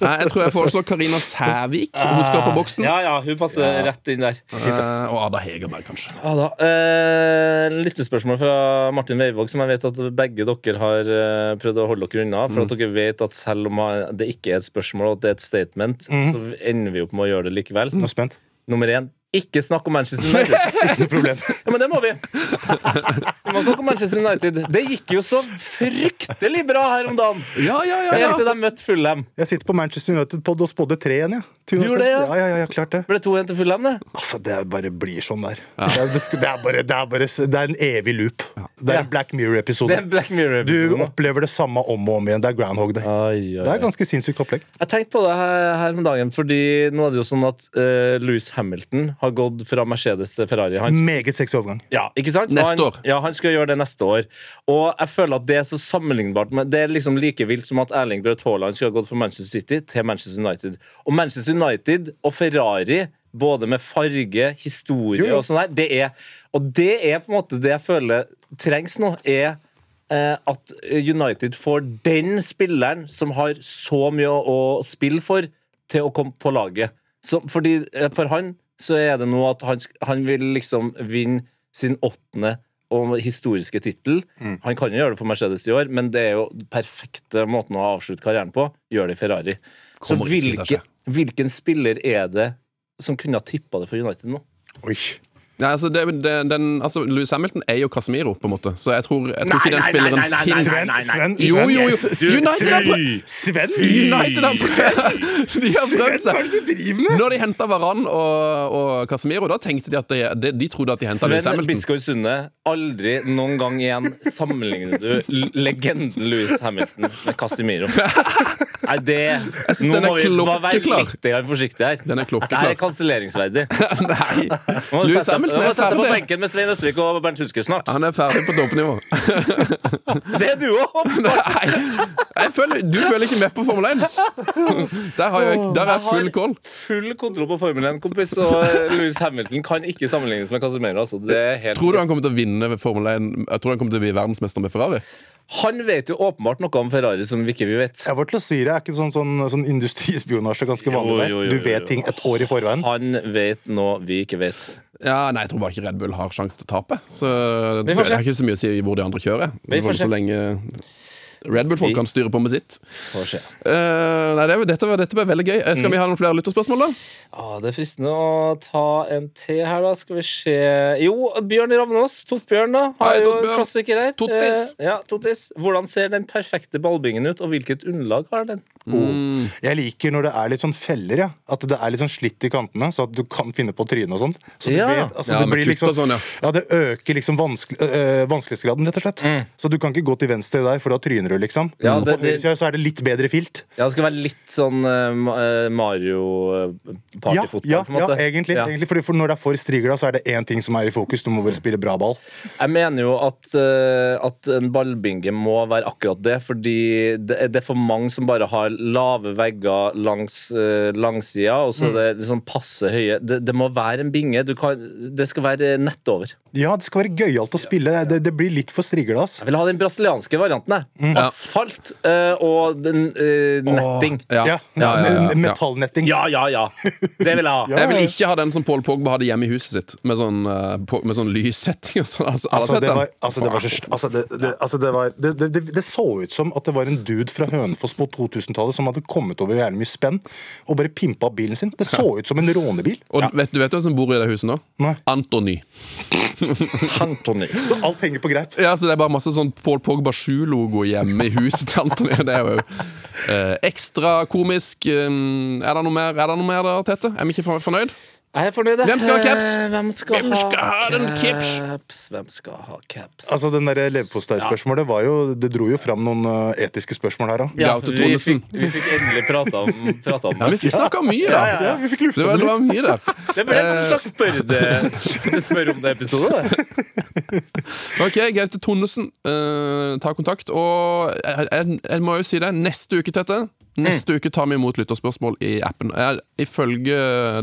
Speaker 2: Nei, jeg tror jeg foreslår Karina Sævik. Hun skal på boksen.
Speaker 3: Ah. Ja, ja, hun passer rett inn der.
Speaker 2: Eh, og Ada Hegerberg, kanskje.
Speaker 3: Ja Ah, da. Eh, lyttespørsmål fra Martin Weivåg, som jeg vet at begge dere har eh, prøvd å holde dere unna. For
Speaker 4: Mm.
Speaker 3: at dere vet at selv om han- det ikke er et spørsmål, og at det er et statement, så ender vi opp med å gjøre det likevel.
Speaker 4: Mm. Nå er jeg spent.
Speaker 3: Nummer én ikke snakk om Manchester United.
Speaker 4: Ikke noe problem.
Speaker 3: Ja, men det må vi. Vi må snakke om Manchester United. Det gikk jo så fryktelig bra her om dagen.
Speaker 2: Ja, ja, ja,
Speaker 3: Helt
Speaker 2: ja.
Speaker 3: til de møtte Fulham.
Speaker 4: Jeg sitter på Manchester United-pod og spådde 3-1, jeg. Til
Speaker 3: Du gjorde det, ja?
Speaker 4: United. Ja, ja, ja, klart det.
Speaker 3: Ble det 2-1 til Fulham, det?
Speaker 4: Altså, det er bare blir sånn der. Det, er, det, er bare, det, er bare, det er en evig loop. Det er
Speaker 3: Ja.
Speaker 4: en Black
Speaker 3: Det
Speaker 4: Mirror-episode.
Speaker 3: er en Black
Speaker 4: Du
Speaker 3: Mirror-episode.
Speaker 4: opplever det samme om og om igjen. Det er Groundhog Day.
Speaker 3: Oi, oi,
Speaker 4: Det
Speaker 3: oi.
Speaker 4: er ganske sinnssykt opplegg.
Speaker 3: Jeg tenkte på det her, her om dagen, fordi nå er det jo sånn at eh, Lewis Hamilton har gått fra Mercedes til Ferrari. Han,
Speaker 4: Meget sexy overgang.
Speaker 3: ja, ikke sant?
Speaker 2: Neste
Speaker 3: han,
Speaker 2: år.
Speaker 3: Ja, han skal gjøre det neste år. Og jeg føler at det er så sammenlignbart. Men det er liksom like vilt som at Erling Braut Haaland skal ha gått fra Manchester City til Manchester United. Og Manchester United og Ferrari både med farge, historie
Speaker 4: Jo, jo.
Speaker 3: og sånn her. Det er, og det er på en måte det jeg føler trengs nå, er eh, at United får den spilleren som har så mye å, å spille for, til å komme på laget. Så, fordi eh, For han så er det nå at han, sk- han vil liksom vinne sin åttende og historiske tittel.
Speaker 2: Mm.
Speaker 3: Han kan jo gjøre det for Mercedes i år, men det er jo den perfekte måten å avslutte karrieren på. Gjør det i Ferrari. Så
Speaker 2: Kommer ikke til å
Speaker 3: hvilke, hvilken spiller er det som kunne ha tippa det for United nå?
Speaker 4: Oi.
Speaker 2: Nei, altså, det, det, den, altså Louis Hamilton er jo Casemiro, på en måte, så jeg tror, jeg tror ikke den
Speaker 3: nei, nei,
Speaker 2: spilleren
Speaker 3: nei, nei, nei,
Speaker 2: fins.
Speaker 3: nei,
Speaker 4: Sven,
Speaker 3: nei.
Speaker 4: Sven,
Speaker 2: Jo, jo, jo.
Speaker 4: Sven,
Speaker 2: United er prøvd
Speaker 4: Sven,
Speaker 2: United har prøvd De har
Speaker 4: Sven,
Speaker 2: prøvd
Speaker 4: hva
Speaker 2: seg!
Speaker 4: er det du driver med?
Speaker 2: Når de henta Varan og, og Casemiro, da tenkte de at de, de, de trodde at de henta Louis
Speaker 3: Sven
Speaker 2: Hamilton.
Speaker 3: Biskår Sunde, aldri noen gang igjen sammenligner du l- legenden Louis Hamilton med Casimiro. Nei, det
Speaker 2: synes
Speaker 3: Nå
Speaker 2: den er
Speaker 3: må vi bare være
Speaker 2: klokkeklar.
Speaker 3: litt grann forsiktige her.
Speaker 2: Den er
Speaker 3: Det
Speaker 2: klokkeklar.
Speaker 3: her er kanselleringsverdig.
Speaker 2: Nei.
Speaker 3: Nå må du
Speaker 2: Louis
Speaker 3: sette, nå
Speaker 2: Hamilton
Speaker 3: må
Speaker 2: er
Speaker 3: du sette deg på
Speaker 2: ferdig.
Speaker 3: benken med Svein Østvik og Bernt Hulsker snart.
Speaker 2: Han er ferdig på toppnivå.
Speaker 3: Det er du òg!
Speaker 2: Nei! Jeg føler, du føler ikke med på Formel 1. Der, har jeg, der er jeg full kål.
Speaker 3: Full kontroll på Formel 1, kompis. Og eh, Lewis Hamilton kan ikke sammenlignes med Casimiro. Altså. Det er helt
Speaker 2: Tror du han kommer til å vinne ved Formel 1? Jeg tror han kommer til å bli verdensmester med Ferrari.
Speaker 3: Han vet jo åpenbart noe om Ferrari som vi ikke vi vet.
Speaker 4: Jeg var til å si det, er ikke sånn, sånn, sånn industrispionasje ganske vanlig der?
Speaker 3: jo, jo,
Speaker 4: Du
Speaker 3: jo.
Speaker 4: vet ting et år i forveien.
Speaker 3: Han vet noe vi ikke vet.
Speaker 2: Ja, nei, Jeg tror bare ikke Red Bull har sjanse til å tape. Så
Speaker 3: Vi
Speaker 2: det
Speaker 3: får se.
Speaker 2: har ikke så mye å si hvor de andre kjører.
Speaker 3: Vi får se.
Speaker 2: Så lenge Red Bull-folk
Speaker 3: Vi-
Speaker 2: kan styre på med sitt.
Speaker 3: Får se.
Speaker 2: Eh, nei, det, var- dette, var- dette ble veldig gøy. Eh, Skal vi ha noen flere lytterspørsmål, da?
Speaker 3: Ah, det er fristende å ta en til her, da. Skal vi se Jo, Bjørn Ravnås. Tottbjørn, da. Har
Speaker 2: Hei,
Speaker 3: jo en
Speaker 2: Tottbjørn.
Speaker 3: klassiker her.
Speaker 2: Tottis.
Speaker 3: Eh, ja, Tottis. Hvordan ser den perfekte ballbingen ut, og hvilket underlag har den?
Speaker 4: Oh.
Speaker 2: Mm.
Speaker 4: Jeg liker når det er litt sånn feller, ja. At det er litt sånn slitt i kantene, så at du kan finne på trynet og sånt. Så du
Speaker 3: Ja.
Speaker 4: vet, altså,
Speaker 2: Ja,
Speaker 4: det
Speaker 2: med
Speaker 4: blir
Speaker 2: kutt
Speaker 4: liksom,
Speaker 2: og sånn, ja.
Speaker 4: det øker liksom vanskelig, øh, vanskelighetsgraden, rett og slett.
Speaker 2: Mm.
Speaker 4: Så du kan ikke gå til venstre der, for da tryner du, liksom.
Speaker 3: Ja, det-
Speaker 4: Og på høyre
Speaker 3: det-
Speaker 4: side så er det litt bedre filt.
Speaker 3: Ja, det skal være litt sånn eh, Ma- eh, Mario eh,
Speaker 4: Ja,
Speaker 3: partyfotball,
Speaker 4: ja,
Speaker 3: på en
Speaker 4: ja,
Speaker 3: måte.
Speaker 4: egentlig. egentlig fordi for når det er for strigla, så er det én ting som er i fokus. Du må bare spille bra ball.
Speaker 3: Jeg mener jo at, eh, at en ballbinge må være akkurat det, fordi det, er- det er for mange som bare har lave vegger langs eh, langsida, og så det er liksom passe høye det, det må være en binge. Du kan, det skal være nett over.
Speaker 4: Ja, det skal være gøyalt å spille. Det, det blir litt for strigla, ass.
Speaker 3: Jeg vil ha den brasilianske varianten, jeg. Asfalt eh, og den, eh, netting.
Speaker 2: Åh, ja.
Speaker 4: Ja,
Speaker 2: Ja, ja, ja, ja, ja.
Speaker 4: Metallnetting.
Speaker 3: Ja, ja, ja. Det vil jeg ha.
Speaker 4: Ja,
Speaker 2: Jeg vil
Speaker 4: ja.
Speaker 2: ikke ha den som Paul Pogba hadde hjemme i huset sitt, med sånn, eh, på- med sånn lyssetting og sånn. Altså, alle har
Speaker 4: Altså,
Speaker 2: sett
Speaker 4: det
Speaker 2: den.
Speaker 4: var, altså, det var så sl- altså, det, det, altså, det, var, det, det, det, det så ut som at det var en dude fra Hønefoss på 2000-tallet som hadde kommet over jævlig mye spenn og bare pimpa opp bilen sin. Det så ut som en rånebil.
Speaker 2: Og vet, du vet hvem som bor i det huset nå?
Speaker 4: Nei.
Speaker 2: Antony.
Speaker 3: Antony.
Speaker 4: Så alt henger på greip.
Speaker 2: Ja, så Det er bare masse sånn Paul Pogba 7-logo hjemme i huset til Antony. Det er jo eh, ekstra komisk. Eh, er det noe mer, er det noe mer der, Tete? Er vi ikke for- fornøyd?
Speaker 3: Jeg er fornøyd, jeg.
Speaker 2: Hvem skal ha caps?
Speaker 3: Eh, Hvem skal,
Speaker 2: Hvem skal ha den caps?
Speaker 3: caps? Hvem skal ha caps?
Speaker 4: Altså, den der leverpostei-spørsmålet var jo Det dro jo fram noen eh, etiske spørsmål her òg.
Speaker 3: Ja,
Speaker 2: Gaute
Speaker 3: vi
Speaker 2: Thoresen.
Speaker 3: fikk, vi fikk endelig prata om, prata om
Speaker 2: Ja, vi
Speaker 3: det.
Speaker 2: fikk snakka mye, da.
Speaker 4: Ja, vi fikk
Speaker 2: Det
Speaker 4: lufta
Speaker 2: var, det
Speaker 4: den litt.
Speaker 2: var mye der.
Speaker 3: Det ble en slags spør, det, spør om det episode. Det.
Speaker 2: Ok, Gaute Tonnesen, eh, ta kontakt. Og jeg, jeg, jeg må jo si det, neste uke, Tette
Speaker 4: Mm.
Speaker 2: Neste uke tar vi imot lytterspørsmål i appen. Jeg, ifølge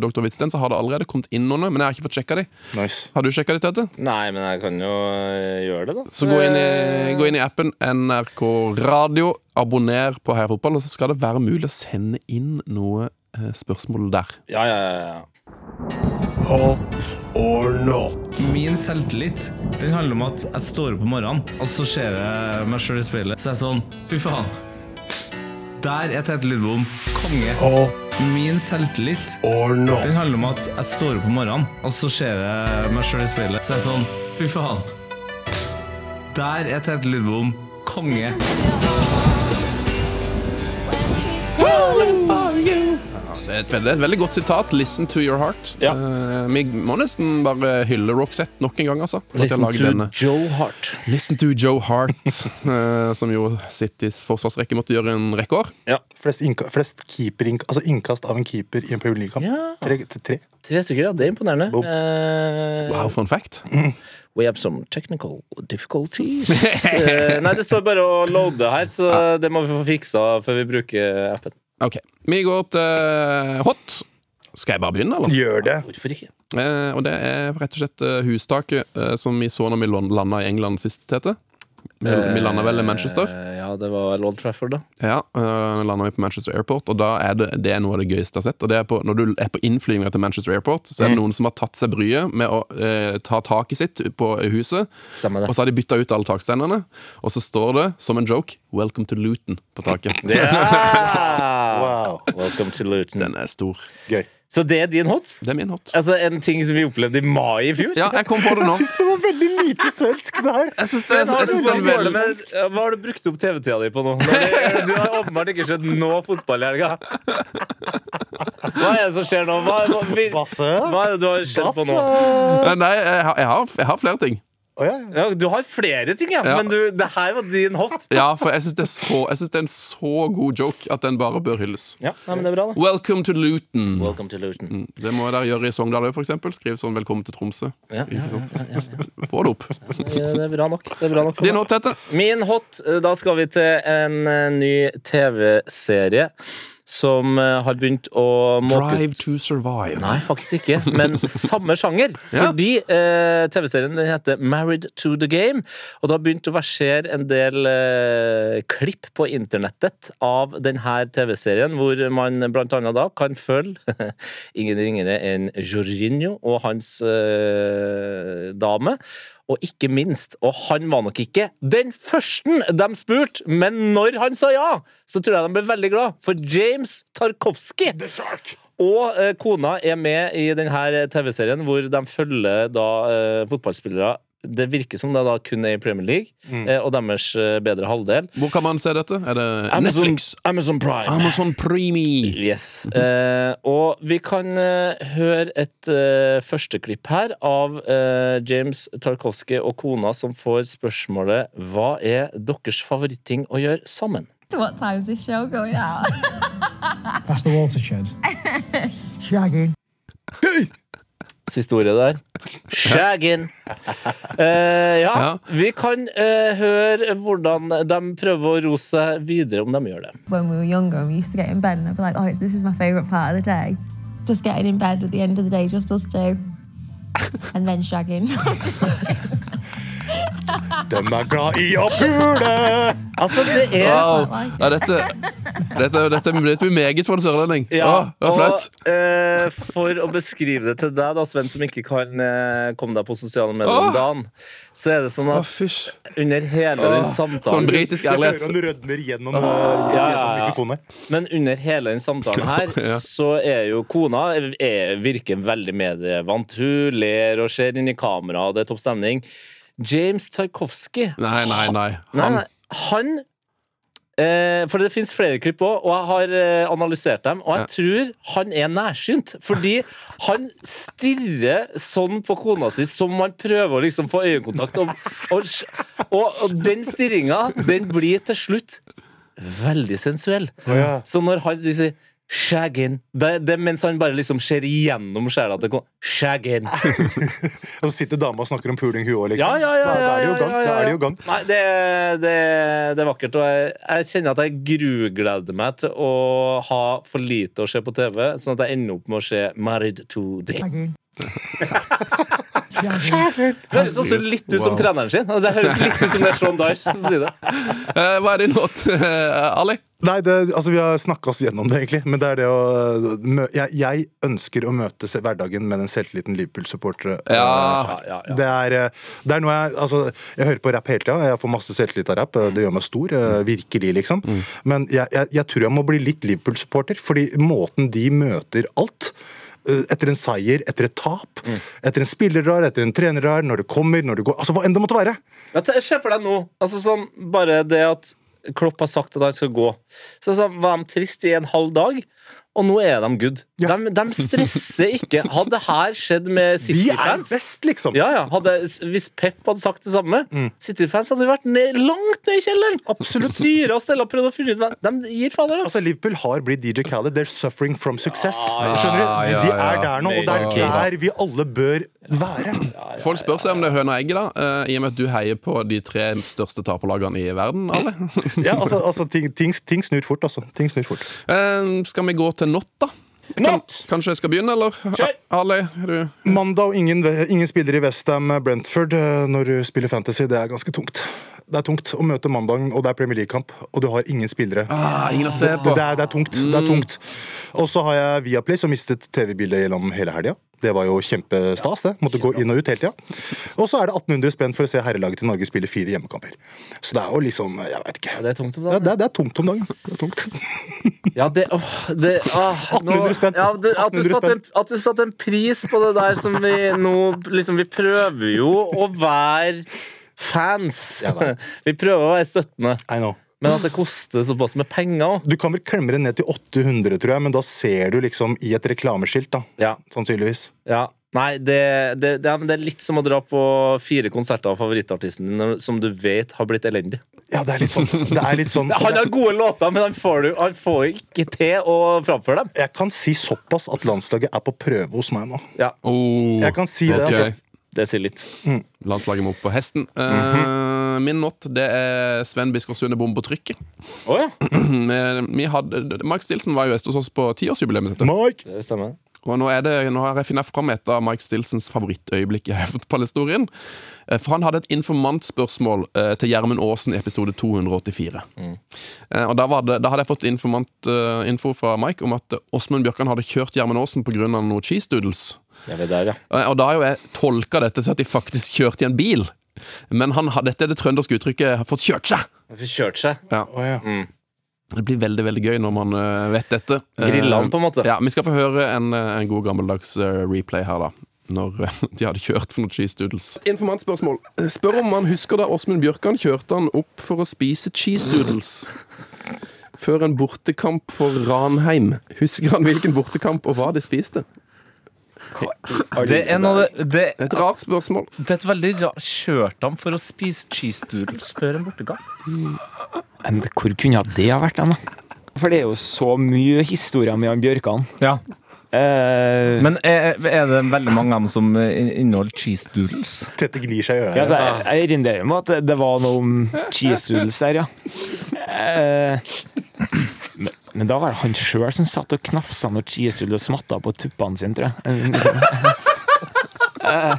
Speaker 2: dr. Hvitsten så har det allerede kommet inn noen, men jeg har ikke fått sjekka de.
Speaker 4: Nice.
Speaker 2: Har du sjekka de, Tette?
Speaker 3: Nei, men jeg kan jo øh, gjøre det, da.
Speaker 2: Så gå inn, i, gå inn i appen NRK Radio, abonner på Heia Fotball, og så skal det være mulig å sende inn noe eh, spørsmål der.
Speaker 3: Ja, ja, ja, ja.
Speaker 1: Hot or not?
Speaker 5: Min selvtillit den handler om at jeg står opp om morgenen, og så ser jeg meg sjøl i speilet. Så er jeg sånn Fy faen. Der er Tete Lidbom konge.
Speaker 1: Hot
Speaker 5: Min selvtillit
Speaker 1: or not?
Speaker 5: den handler om at jeg står opp om morgenen, og så ser jeg meg sjøl i speilet. Så er jeg sånn Fy faen. Der er Tete Lidbom konge.
Speaker 2: Det er et veldig, et veldig godt sitat. 'Listen to your heart'.
Speaker 3: Ja.
Speaker 2: Eh, vi må nesten bare hylle Roxette nok en gang, altså. for at de har laget denne.
Speaker 3: Joe Hart.
Speaker 2: Listen to Joe Hart, eh, som jo Citys forsvarsrekke måtte gjøre en rekke år.
Speaker 4: Flest, innka, flest keeper, innka- altså innkast av en keeper i en Premier League-kamp.
Speaker 3: Ja.
Speaker 4: Tre, til tre.
Speaker 3: Tre stykker, ja. Det er imponerende.
Speaker 4: Boom.
Speaker 3: Eh,
Speaker 2: Wow, for en fact.
Speaker 3: We have some technical difficulties. Eh, nei, det står bare å loade her, så det må vi få fiksa før vi bruker appen.
Speaker 2: Ok, Vi går til eh, hot. Skal jeg bare begynne, eller?
Speaker 4: Gjør det.
Speaker 3: Hvorfor ikke?
Speaker 2: Eh, og det er rett og slett eh, hustaket eh, som vi så når vi landa i England sist, Tete. Vi, vi landa vel i Manchester.
Speaker 3: Eh, ja, det var vel Old Trafford, da.
Speaker 2: Ja, uh, vi på Manchester Airport, og da er det, det er noe av det gøyeste jeg har sett. Og det er på, når du er på innflyginga til Manchester Airport, så er det noen som har tatt seg bryet med å eh, ta taket sitt på huset,
Speaker 3: Stemmer det.
Speaker 2: og så har de bytta ut alle taksteinene, og så står det som en joke 'Welcome to Luton' på taket.
Speaker 3: Ja!
Speaker 4: Wow.
Speaker 3: Welcome to Luton.
Speaker 2: Den er stor.
Speaker 4: Gøy.
Speaker 3: Så det er din hot?
Speaker 2: Det er min hot.
Speaker 3: Altså En ting som vi opplevde i mai i fjor?
Speaker 2: Ja, jeg kom på det nå.
Speaker 4: Jeg syns det var veldig lite svensk, det her.
Speaker 2: Jeg syns, jeg, jeg,
Speaker 3: Har
Speaker 2: syns
Speaker 3: du-
Speaker 2: den
Speaker 3: Hva går det
Speaker 2: vel...
Speaker 3: med- hva har du brukt opp TV-tida di på nå? Nå er det- Du har åpenbart ikke sett nå fotball i helga. Hva er det som skjer nå? Hva, hva, vi,
Speaker 4: Basse.
Speaker 3: hva er det du har skjedd på nå?
Speaker 2: Eh, Nei, jeg har, jeg har, jeg har flere ting.
Speaker 4: Å, ja.
Speaker 3: Ja, du har flere ting, ja.
Speaker 2: Ja.
Speaker 3: Men du, det her var din hot.
Speaker 2: Ja, for jeg syns det, er så- jeg syns det er en så god joke at den bare bør hylles.
Speaker 3: Ja, nei, men det er bra, da.
Speaker 2: Welcome to Luton.
Speaker 3: Welcome to Luton.
Speaker 2: Det må dere gjøre i Sogndal òg, f.eks. Skriv sånn 'Velkommen til Tromsø'.
Speaker 3: Ja,
Speaker 2: Ikke
Speaker 3: ja,
Speaker 2: sant? Få det opp.
Speaker 3: ja, det er bra nok. Det er bra nok for
Speaker 2: Din
Speaker 3: meg.
Speaker 2: hot tette.
Speaker 3: Min hot, eh, da skal vi til en eh, ny TV-serie som eh, har begynt å måke
Speaker 2: Drive to survive.
Speaker 3: Nei, faktisk ikke, men samme sjanger.
Speaker 2: Ja.
Speaker 3: Fordi eh, TV-serien den heter Married to the Game, og det har begynt å versere en del eh, klipp på internettet av denne TV-serien, hvor man blant annet da kan følge ingen ringere enn Jorginho og hans eh, dame. Og ikke minst, og han var nok ikke den første de spurte, men når han sa ja, så tror jeg de ble veldig glad, for James Tarkovsky og eh, kona er med i denne TV-serien hvor de følger da eh, fotballspillere. Det virker som det da kun er i Premier League
Speaker 2: Mm.
Speaker 3: eh, og deres eh, bedre halvdel.
Speaker 2: Hvor kan man se dette? Er det
Speaker 3: Amazon-
Speaker 2: Netflix?
Speaker 3: Amazon Prime.
Speaker 2: Amazon Primi.
Speaker 3: Yes. Eh, og vi kan eh, høre et eh, førsteklipp her av eh, James Tarkovsky og kona som får spørsmålet Hva er deres favoritting å gjøre sammen?
Speaker 6: What time's the show going out?
Speaker 7: That's the watershed. Shagging.
Speaker 3: Siste ordet der. Skjægen. Eh, ja,
Speaker 2: Ja.
Speaker 3: vi kan eh, høre hvordan de prøver å ro seg videre om de gjør det.
Speaker 6: when we were younger, we used to get in bed and I'd be like, oh, it's- this is my favourite part of the day. Just getting in bed at the end of the day, just us two. And then shagging.
Speaker 4: Dem er glad i å pule!
Speaker 3: Altså, det er
Speaker 2: Wow. Ja, dette, dette, dette blir meget for en sørlending. Å, det var flaut.
Speaker 3: og eh, for å beskrive det til deg, da, Sven, som ikke kan eh, komme deg på sosiale medier
Speaker 2: Åh.
Speaker 3: om dagen, så er det sånn
Speaker 2: Å,
Speaker 3: at
Speaker 2: fysj.
Speaker 3: under hele den
Speaker 2: Sånn
Speaker 3: samtalen
Speaker 2: britisk
Speaker 4: Jeg hører
Speaker 2: ærlighet.
Speaker 4: han rødmer gjennom, eh,
Speaker 3: ja,
Speaker 4: gjennom
Speaker 3: ja.
Speaker 4: mikrofonen her.
Speaker 3: Men under hele den samtalen her,
Speaker 2: Ja.
Speaker 3: så er jo kona er, virker veldig medievant. Hun ler og ser inn i kamera, og det er topp stemning. James Tarkovsky
Speaker 2: Nei, nei, nei.
Speaker 3: Nei,
Speaker 2: Han,
Speaker 3: nei, han eh, For det finnes flere klipp òg, og jeg har eh, analysert dem. Og jeg tror han er nærsynt, fordi han stirrer sånn på kona si som man prøver å liksom få øyekontakt. Og, og, og, og den stirringa, den blir til slutt veldig sensuell.
Speaker 4: ja.
Speaker 3: Så når han sier Shagin. Det, det er mens han bare liksom ser igjennom sjela til kona. Shagin.
Speaker 4: Og så sitter dama og snakker om puling, hun òg, liksom.
Speaker 3: Ja, ja, ja,
Speaker 4: Så da
Speaker 3: ja,
Speaker 4: er det jo
Speaker 3: ja,
Speaker 4: gang.
Speaker 3: ja, ja,
Speaker 4: Da er
Speaker 3: ja.
Speaker 4: det jo gang.
Speaker 3: Nei, det, det, det er vakkert. Og jeg, jeg kjenner at jeg grugleder meg til å ha for lite å se på TV, sånn at jeg ender opp med å se Married to the Game.
Speaker 7: Shagging.
Speaker 3: Høres også litt ut som
Speaker 2: Wow.
Speaker 3: treneren sin. Altså, Det høres litt ut som det er Sean Dyche som sier det.
Speaker 2: eh, hva er din hot, eh, Ali?
Speaker 4: Nei, det, altså Vi har snakka oss gjennom det, egentlig. Men det er det å mø- jeg, jeg ønsker å møte se- hverdagen med den selvtilliten Liverpool-supportere eh,
Speaker 2: Ja.
Speaker 4: har.
Speaker 3: Ja, ja, ja.
Speaker 4: Det er, eh, det er noe jeg altså, Jeg hører på rapp hele tida. Jeg får masse selvtillit av rapp. eh, Det gjør meg stor. eh, Virkelig, liksom.
Speaker 3: Mm.
Speaker 4: Men jeg, jeg, jeg tror jeg må bli litt Liverpool-supporter, fordi måten de møter alt eh, etter en seier, etter et tap,
Speaker 3: Mm.
Speaker 4: etter en spillerdrar, etter en trenerrar, når det kommer, når det går Altså, Hva enn det måtte være.
Speaker 3: Ja, ta- Se for deg nå, altså sånn bare det at Klopp har sagt at han skal gå. Så sånn, var de trist i en halv dag, og nå er de good. De, de stresser ikke. Hadde det her skjedd med
Speaker 4: De er
Speaker 3: City-fans
Speaker 4: best, Mm. liksom.
Speaker 3: Ja, ja. Hadde, hvis Pep hadde sagt det samme, City-fans hadde jo vært ned, langt ned i kjelleren. Absolutt. Styre og stelle og prøvd å finne ut hva De gir fader, da.
Speaker 4: Altså, Liverpool har blitt DJ Khaled. They're suffering from success.
Speaker 3: Ja, ja,
Speaker 4: Skjønner du? De, de
Speaker 2: ja, ja.
Speaker 4: er der nå, og det
Speaker 3: Meget
Speaker 4: er
Speaker 3: bra.
Speaker 4: der vi alle bør være.
Speaker 2: Folk spør seg om det er høna og egget, da. eh, I og med at du heier på de tre største taperlagene i verden, Ali.
Speaker 4: Ja, altså, altså ting, ting, ting snur fort, altså. Ting snur fort.
Speaker 2: Eh, skal vi gå til not, da? Kan,
Speaker 3: Not!
Speaker 2: kanskje jeg skal begynne, eller?
Speaker 3: Kjør!
Speaker 2: Ali, er du
Speaker 4: Mandag og ingen, ingen spiller i Westham Brentford eh, når du spiller Fantasy. Det er ganske tungt. Det er tungt å møte mandagen, og det er Premier League-kamp, og du har ingen spillere.
Speaker 2: ah, Ingen å se
Speaker 4: Det, det, er, det er tungt. Det er tungt. Og så har jeg Viaplay, som mistet TV-bildet gjennom hele helga. Det var jo kjempestas, det. Måtte gå inn og ut hele tida. Og så er det 1800 spenn for å se herrelaget til Norge spille fire hjemmekamper. Så det er jo liksom Jeg veit ikke.
Speaker 3: Det er tungt om
Speaker 4: Det,
Speaker 3: dagen.
Speaker 4: er- det, er- det er tungt om dagen. Det er tungt.
Speaker 3: Ja, det, åh, det åh, nå,
Speaker 4: 1800 spenn.
Speaker 3: Ja, du, at, du
Speaker 4: 1800
Speaker 3: satte en, at du satte en pris på det der som vi nå liksom, Vi prøver jo å være fans.
Speaker 4: Jeg vet.
Speaker 3: Vi prøver å være støttende.
Speaker 4: I know.
Speaker 3: Men at det koster såpass med penger
Speaker 4: Du kan vel klemme det ned til 800, tror jeg, men da ser du liksom i et reklameskilt, da.
Speaker 3: Ja.
Speaker 4: Sannsynligvis.
Speaker 3: ja. Nei, det, det, det, er, men det er litt som å dra på fire konserter av favorittartisten din som du vet har blitt elendig.
Speaker 4: Ja, det er litt sånn. Det er litt sånn
Speaker 3: Han har gode låter, men han får, du, han får ikke til å framføre dem.
Speaker 4: jeg kan si såpass at landslaget er på prøve hos meg nå.
Speaker 3: Ja,
Speaker 2: Oh,
Speaker 4: Jeg kan si
Speaker 2: nå
Speaker 4: det,
Speaker 2: skal
Speaker 4: altså.
Speaker 3: Det sier litt.
Speaker 2: Landslaget må opp på hesten. Eh, Min not det er Sven Biskår Sunde bom på trykket.
Speaker 3: Å ja,
Speaker 2: Eh, Vi hadde, Mark Stilson var jo gjest hos oss på tiårsjubileet. sitt.
Speaker 4: Mike!
Speaker 3: det stemmer.
Speaker 2: Og nå, er det, nå har jeg funnet fram et av Mike Stilsons favorittøyeblikk i fotballhistorien. Eh, For han hadde et informantspørsmål eh, til Gjermund Aasen i episode 284. Eh, Og da, var det, da hadde jeg fått informant, eh, info fra Mike om at eh, Åsmund Bjørkan hadde kjørt Gjermund Aasen pga. noe cheese doodles.
Speaker 3: Jeg vet der, ja.
Speaker 2: Eh, Og da har jo jeg tolka dette til at de faktisk kjørte i en bil. Men han, har- dette er det trønderske uttrykket 'har fått kjørt seg'.
Speaker 3: Han fikk kjørt seg.
Speaker 4: Å, ja.
Speaker 2: Det blir veldig veldig gøy når man eh, vet dette.
Speaker 3: Grilla han, på en måte.
Speaker 2: Eh, Ja, Vi skal få høre en, eh, en god gammeldags eh, replay her, da. Når eh, de hadde kjørt for noen cheese doodles. Informantspørsmål. Spør om man husker da Åsmund Bjørkan kjørte han opp for å spise cheese doodles. Før en bortekamp for Ranheim. Husker han hvilken bortekamp og hva de spiste?
Speaker 5: Det er noe det,
Speaker 2: Et rart spørsmål.
Speaker 5: det er et veldig rart Kjørte han for å spise cheese doodles før en bortekamp?
Speaker 8: Men hvor kunne det ha vært, den, da? For det er jo så mye historier med han Bjørkan.
Speaker 5: Ja.
Speaker 8: Eh,
Speaker 5: Men er, er det veldig mange av dem som in- inneholder cheese doodles?
Speaker 4: Tette gnir seg i øret.
Speaker 8: ja, altså, jeg, jeg erindrer meg at det, det var noe om cheese doodles der, ja. Eh, men, men da var det han sjøl som satt og knafsa noe cheese doodles og smatta på tuppene sine, tror jeg. Eh,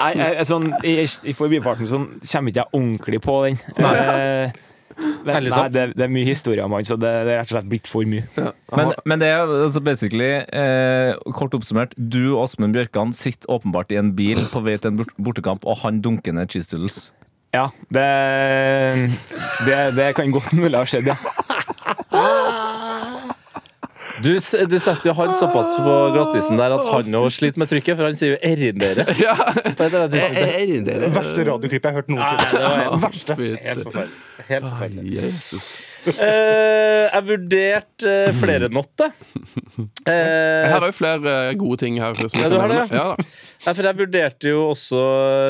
Speaker 8: Nei, jeg, jeg, sånn, i, I forbifarten sånn, kommer ikke jeg ordentlig på den. Eh, det,
Speaker 3: Ærlig
Speaker 8: nei,
Speaker 3: sant.
Speaker 8: det, det er mye historier om han, så det, det er rett og slett blitt for mye.
Speaker 5: Men, men det er altså basically, eh, kort oppsummert, du og Åsmund Bjørkan sitter åpenbart i en bil på vei til en bort- bortekamp, og han dunker ned cheese doodles.
Speaker 8: Ja, det, det, det kan godt mulig ha skjedd, ja.
Speaker 3: Du, s- du setter jo han såpass på glattisen der at han òg sliter med trykket, for han sier jo 'erindere'. Ja. Det er det jeg
Speaker 5: Eh,
Speaker 4: Verste radioklippet jeg har hørt noensinne.
Speaker 2: Verste.
Speaker 3: Helt forferdelig. Helt forferdelig.
Speaker 2: Jesus.
Speaker 3: Eh, jeg vurderte eh, flere notter.
Speaker 2: Jeg
Speaker 3: Uh,
Speaker 2: har òg flere eh, gode ting her. Som jeg
Speaker 3: Ja, du
Speaker 2: kan
Speaker 3: har det,
Speaker 2: nevne. ja. da.
Speaker 3: for jeg vurderte jo også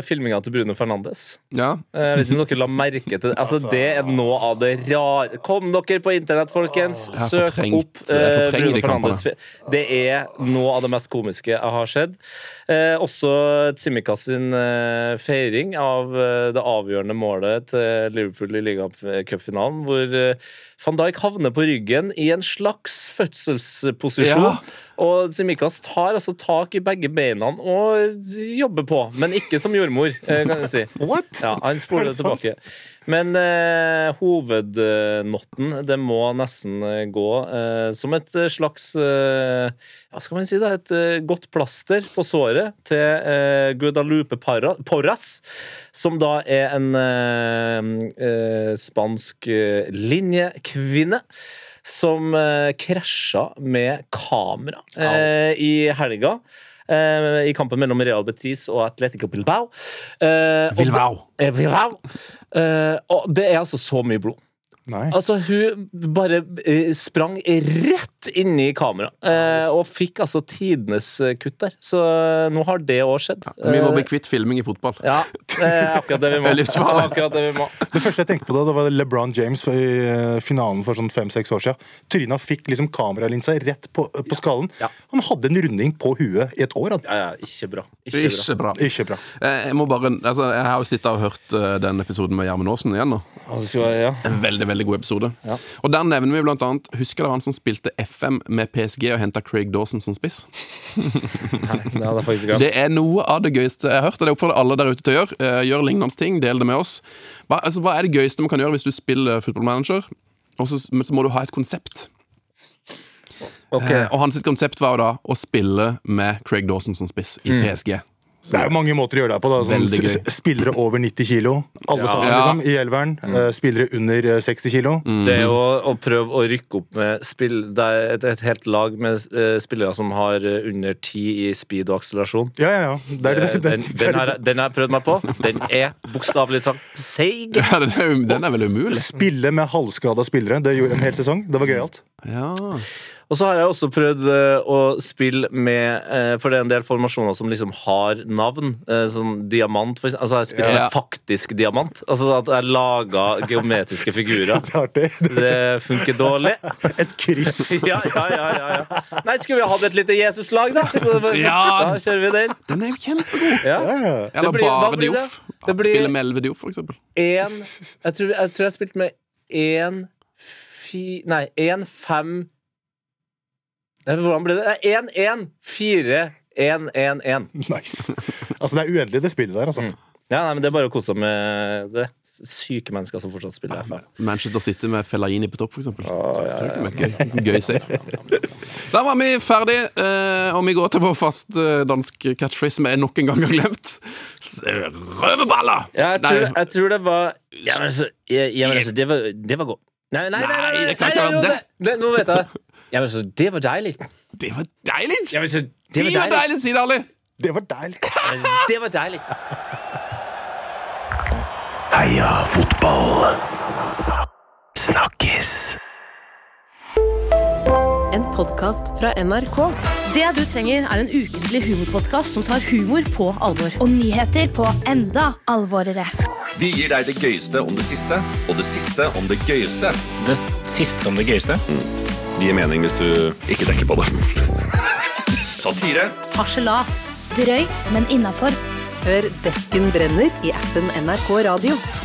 Speaker 3: filminga til Bruno Fernandes.
Speaker 2: Ja.
Speaker 3: Eh, Jeg vet ikke om dere la merke til det. Altså, det er noe av det rare Kom dere på internett, folkens!
Speaker 2: har
Speaker 3: Søk
Speaker 2: fortrengt-
Speaker 3: opp
Speaker 2: jeg
Speaker 3: eh,
Speaker 2: fortrenger
Speaker 3: Bruno
Speaker 2: de
Speaker 3: Fernandes. Det er noe av det mest komiske jeg har sett. Eh, også Tsimikas sin eh, feiring av eh, det avgjørende målet til Liverpool i ligacupfinalen, hvor eh, van Dijk havner på ryggen i en slags fødselsposisjon.
Speaker 2: Ja.
Speaker 3: Og Tsimikas tar altså tak i begge beina og jobber på, men ikke som jordmor, eh, kan jeg si.
Speaker 4: What?
Speaker 3: Ja, han spoler
Speaker 4: Er
Speaker 3: det
Speaker 4: det sant?
Speaker 3: tilbake. Men eh, hovednotten, det må nesten eh, gå eh, som et eh, slags eh, Hva skal man si, da? Et eh, godt plaster på såret til eh, Guadalupe Parra, Porras, som da er en eh, eh, spansk eh, linjekvinne. Som eh, krasja med kamera eh, i helga. Eh, I kampen mellom Real Betis og Atletico Bilbao. Eh, og
Speaker 2: Bilbao.
Speaker 3: Eh, wow. Eh, og det er altså så mye blod.
Speaker 4: Nei.
Speaker 3: Altså, hun bare eh, sprang rett inn i kamera eh, og fikk altså tidenes eh, kutt der. Så eh, nå har det òg skjedd.
Speaker 2: Vi må
Speaker 3: Eh,
Speaker 2: bli kvitt filming i fotball.
Speaker 3: ja, det er akkurat det vi må.
Speaker 2: Det er livsfarlig.
Speaker 3: Akkurat det vi må.
Speaker 4: Det første jeg tenkte på da, det var LeBron James i eh, finalen for sånn fem-seks år siden. Tryna fikk liksom kameralinsa rett på, eh, på skallen.
Speaker 3: Ja.
Speaker 4: Han hadde en runding på huet i et år. Han.
Speaker 3: Ja, ja, ikke bra. Ikke bra.
Speaker 2: Ikke bra.
Speaker 4: Ikke bra.
Speaker 2: Eh, Jeg må bare, altså, jeg har jo sittet og hørt eh, den episoden med Gjermund Aasen igjen nå.
Speaker 3: Altså, skal jeg- ja.
Speaker 2: En veldig veldig god episode. Og Der nevner vi blant annet Husker dere han som spilte FM med PSG og henta Craig Dawson som spiss?
Speaker 3: Det hadde jeg faktisk glemt.
Speaker 2: Det er noe av det gøyeste jeg har hørt, og det oppfordrer alle der ute til å gjøre. Eh, Gjør lignende ting, del det med oss. Hva, altså, hva er det gøyeste man kan gjøre hvis du spiller football manager, og så, men så må du ha et konsept?
Speaker 3: Ok.
Speaker 2: Eh, Og hans sitt konsept var jo da å spille med Craig Dawson som spiss i PSG.
Speaker 4: Det er jo mange måter å gjøre det på. Da. Sånn,
Speaker 2: Veldig
Speaker 4: s-
Speaker 2: gøy.
Speaker 4: s- spillere over 90 kilo, alle sammen,
Speaker 2: Ja.
Speaker 4: liksom, i elveren.
Speaker 2: Mm.
Speaker 4: Eh, Spillere under eh, 60 kilo.
Speaker 3: Det er jo å prøve å rykke opp med spill Det er et, et helt lag med eh, spillere som har eh, under ti i speed og akselerasjon.
Speaker 4: Ja, ja, ja. Det er,
Speaker 3: Eh,
Speaker 4: det, det,
Speaker 3: Den,
Speaker 4: det,
Speaker 3: den,
Speaker 4: er
Speaker 3: har,
Speaker 4: det.
Speaker 3: jeg- den har jeg prøvd meg på. Den er bokstavelig talt seig.
Speaker 2: Ja, den er, jo- den er vel umulig?
Speaker 4: Spille med halvskada spillere. Det gjorde en hel sesong. Det var gøyalt.
Speaker 2: Ja.
Speaker 3: Og så har jeg også prøvd eh, å spille med eh, For det er en del formasjoner som liksom har navn. eh, Sånn diamant, for eksempel. Altså, jeg spiller
Speaker 2: Ja.
Speaker 3: med faktisk diamant. Altså at jeg laga geometriske figurer.
Speaker 4: Det er artig. Det
Speaker 3: Det funker dårlig.
Speaker 4: er Et kryss.
Speaker 3: Ja, ja, ja, ja, ja. Nei, skulle vi hatt et lite Jesus-lag, da? Så,
Speaker 2: Ja.
Speaker 3: Da kjører vi den.
Speaker 2: Den er jo kjempegod!
Speaker 3: Ja.
Speaker 2: Eller
Speaker 3: Det blir- hva
Speaker 2: bare
Speaker 3: blir det?
Speaker 2: Dioff.
Speaker 3: Det blir-
Speaker 2: Spille med Elleve Dioff, for eksempel.
Speaker 3: En, jeg, tror, jeg tror jeg spilte med én fi... Nei, én fem Nei, Hvordan ble det? Én, én, fire, én, én, én.
Speaker 4: Nice. Altså, det er uendelig, det spillet der. altså.
Speaker 3: Ja, nei, men Det er bare å kose seg med det. Syke mennesker som fortsatt spiller FM.
Speaker 2: Manchester City med Fellaini på topp, for eksempel.
Speaker 3: Ah,
Speaker 2: Det er ikke Gøy, gøy save. Da var vi ferdig, eh, og vi går til vår fast eh, dansk catchphrase, som jeg nok en gang har glemt. S- eh, Røverballer!
Speaker 3: Ja, jeg tror,
Speaker 2: Nei,
Speaker 3: jeg tror det var Ja, men altså, ja, ja, men altså det, var, det var godt. Nei, nei, nei, nei, nei,
Speaker 2: Nei,
Speaker 3: nei,
Speaker 2: det kan ikke
Speaker 3: nei,
Speaker 2: være
Speaker 3: jo,
Speaker 2: det.
Speaker 3: det- det- Nå vet jeg det. Ja, men altså, det var deilig.
Speaker 2: det var deilig!
Speaker 3: Ja, men altså,
Speaker 2: Det var deilig, sier Ali!
Speaker 4: Det var deilig.
Speaker 3: Det var deilig.
Speaker 1: Heia fotball! Snakkes!
Speaker 9: En podkast fra NRK. Det du trenger, er en ukentlig humorpodkast som tar humor på alvor.
Speaker 10: og nyheter på enda alvorere.
Speaker 11: Vi gir deg det gøyeste om det siste, og det siste om det gøyeste.
Speaker 5: Det siste om det gøyeste.
Speaker 11: Det gir mening hvis du ikke tenker på det. Satire.
Speaker 9: Harselas.
Speaker 10: Drøyt, men innafor.
Speaker 9: Hør Desken brenner i appen NRK Radio.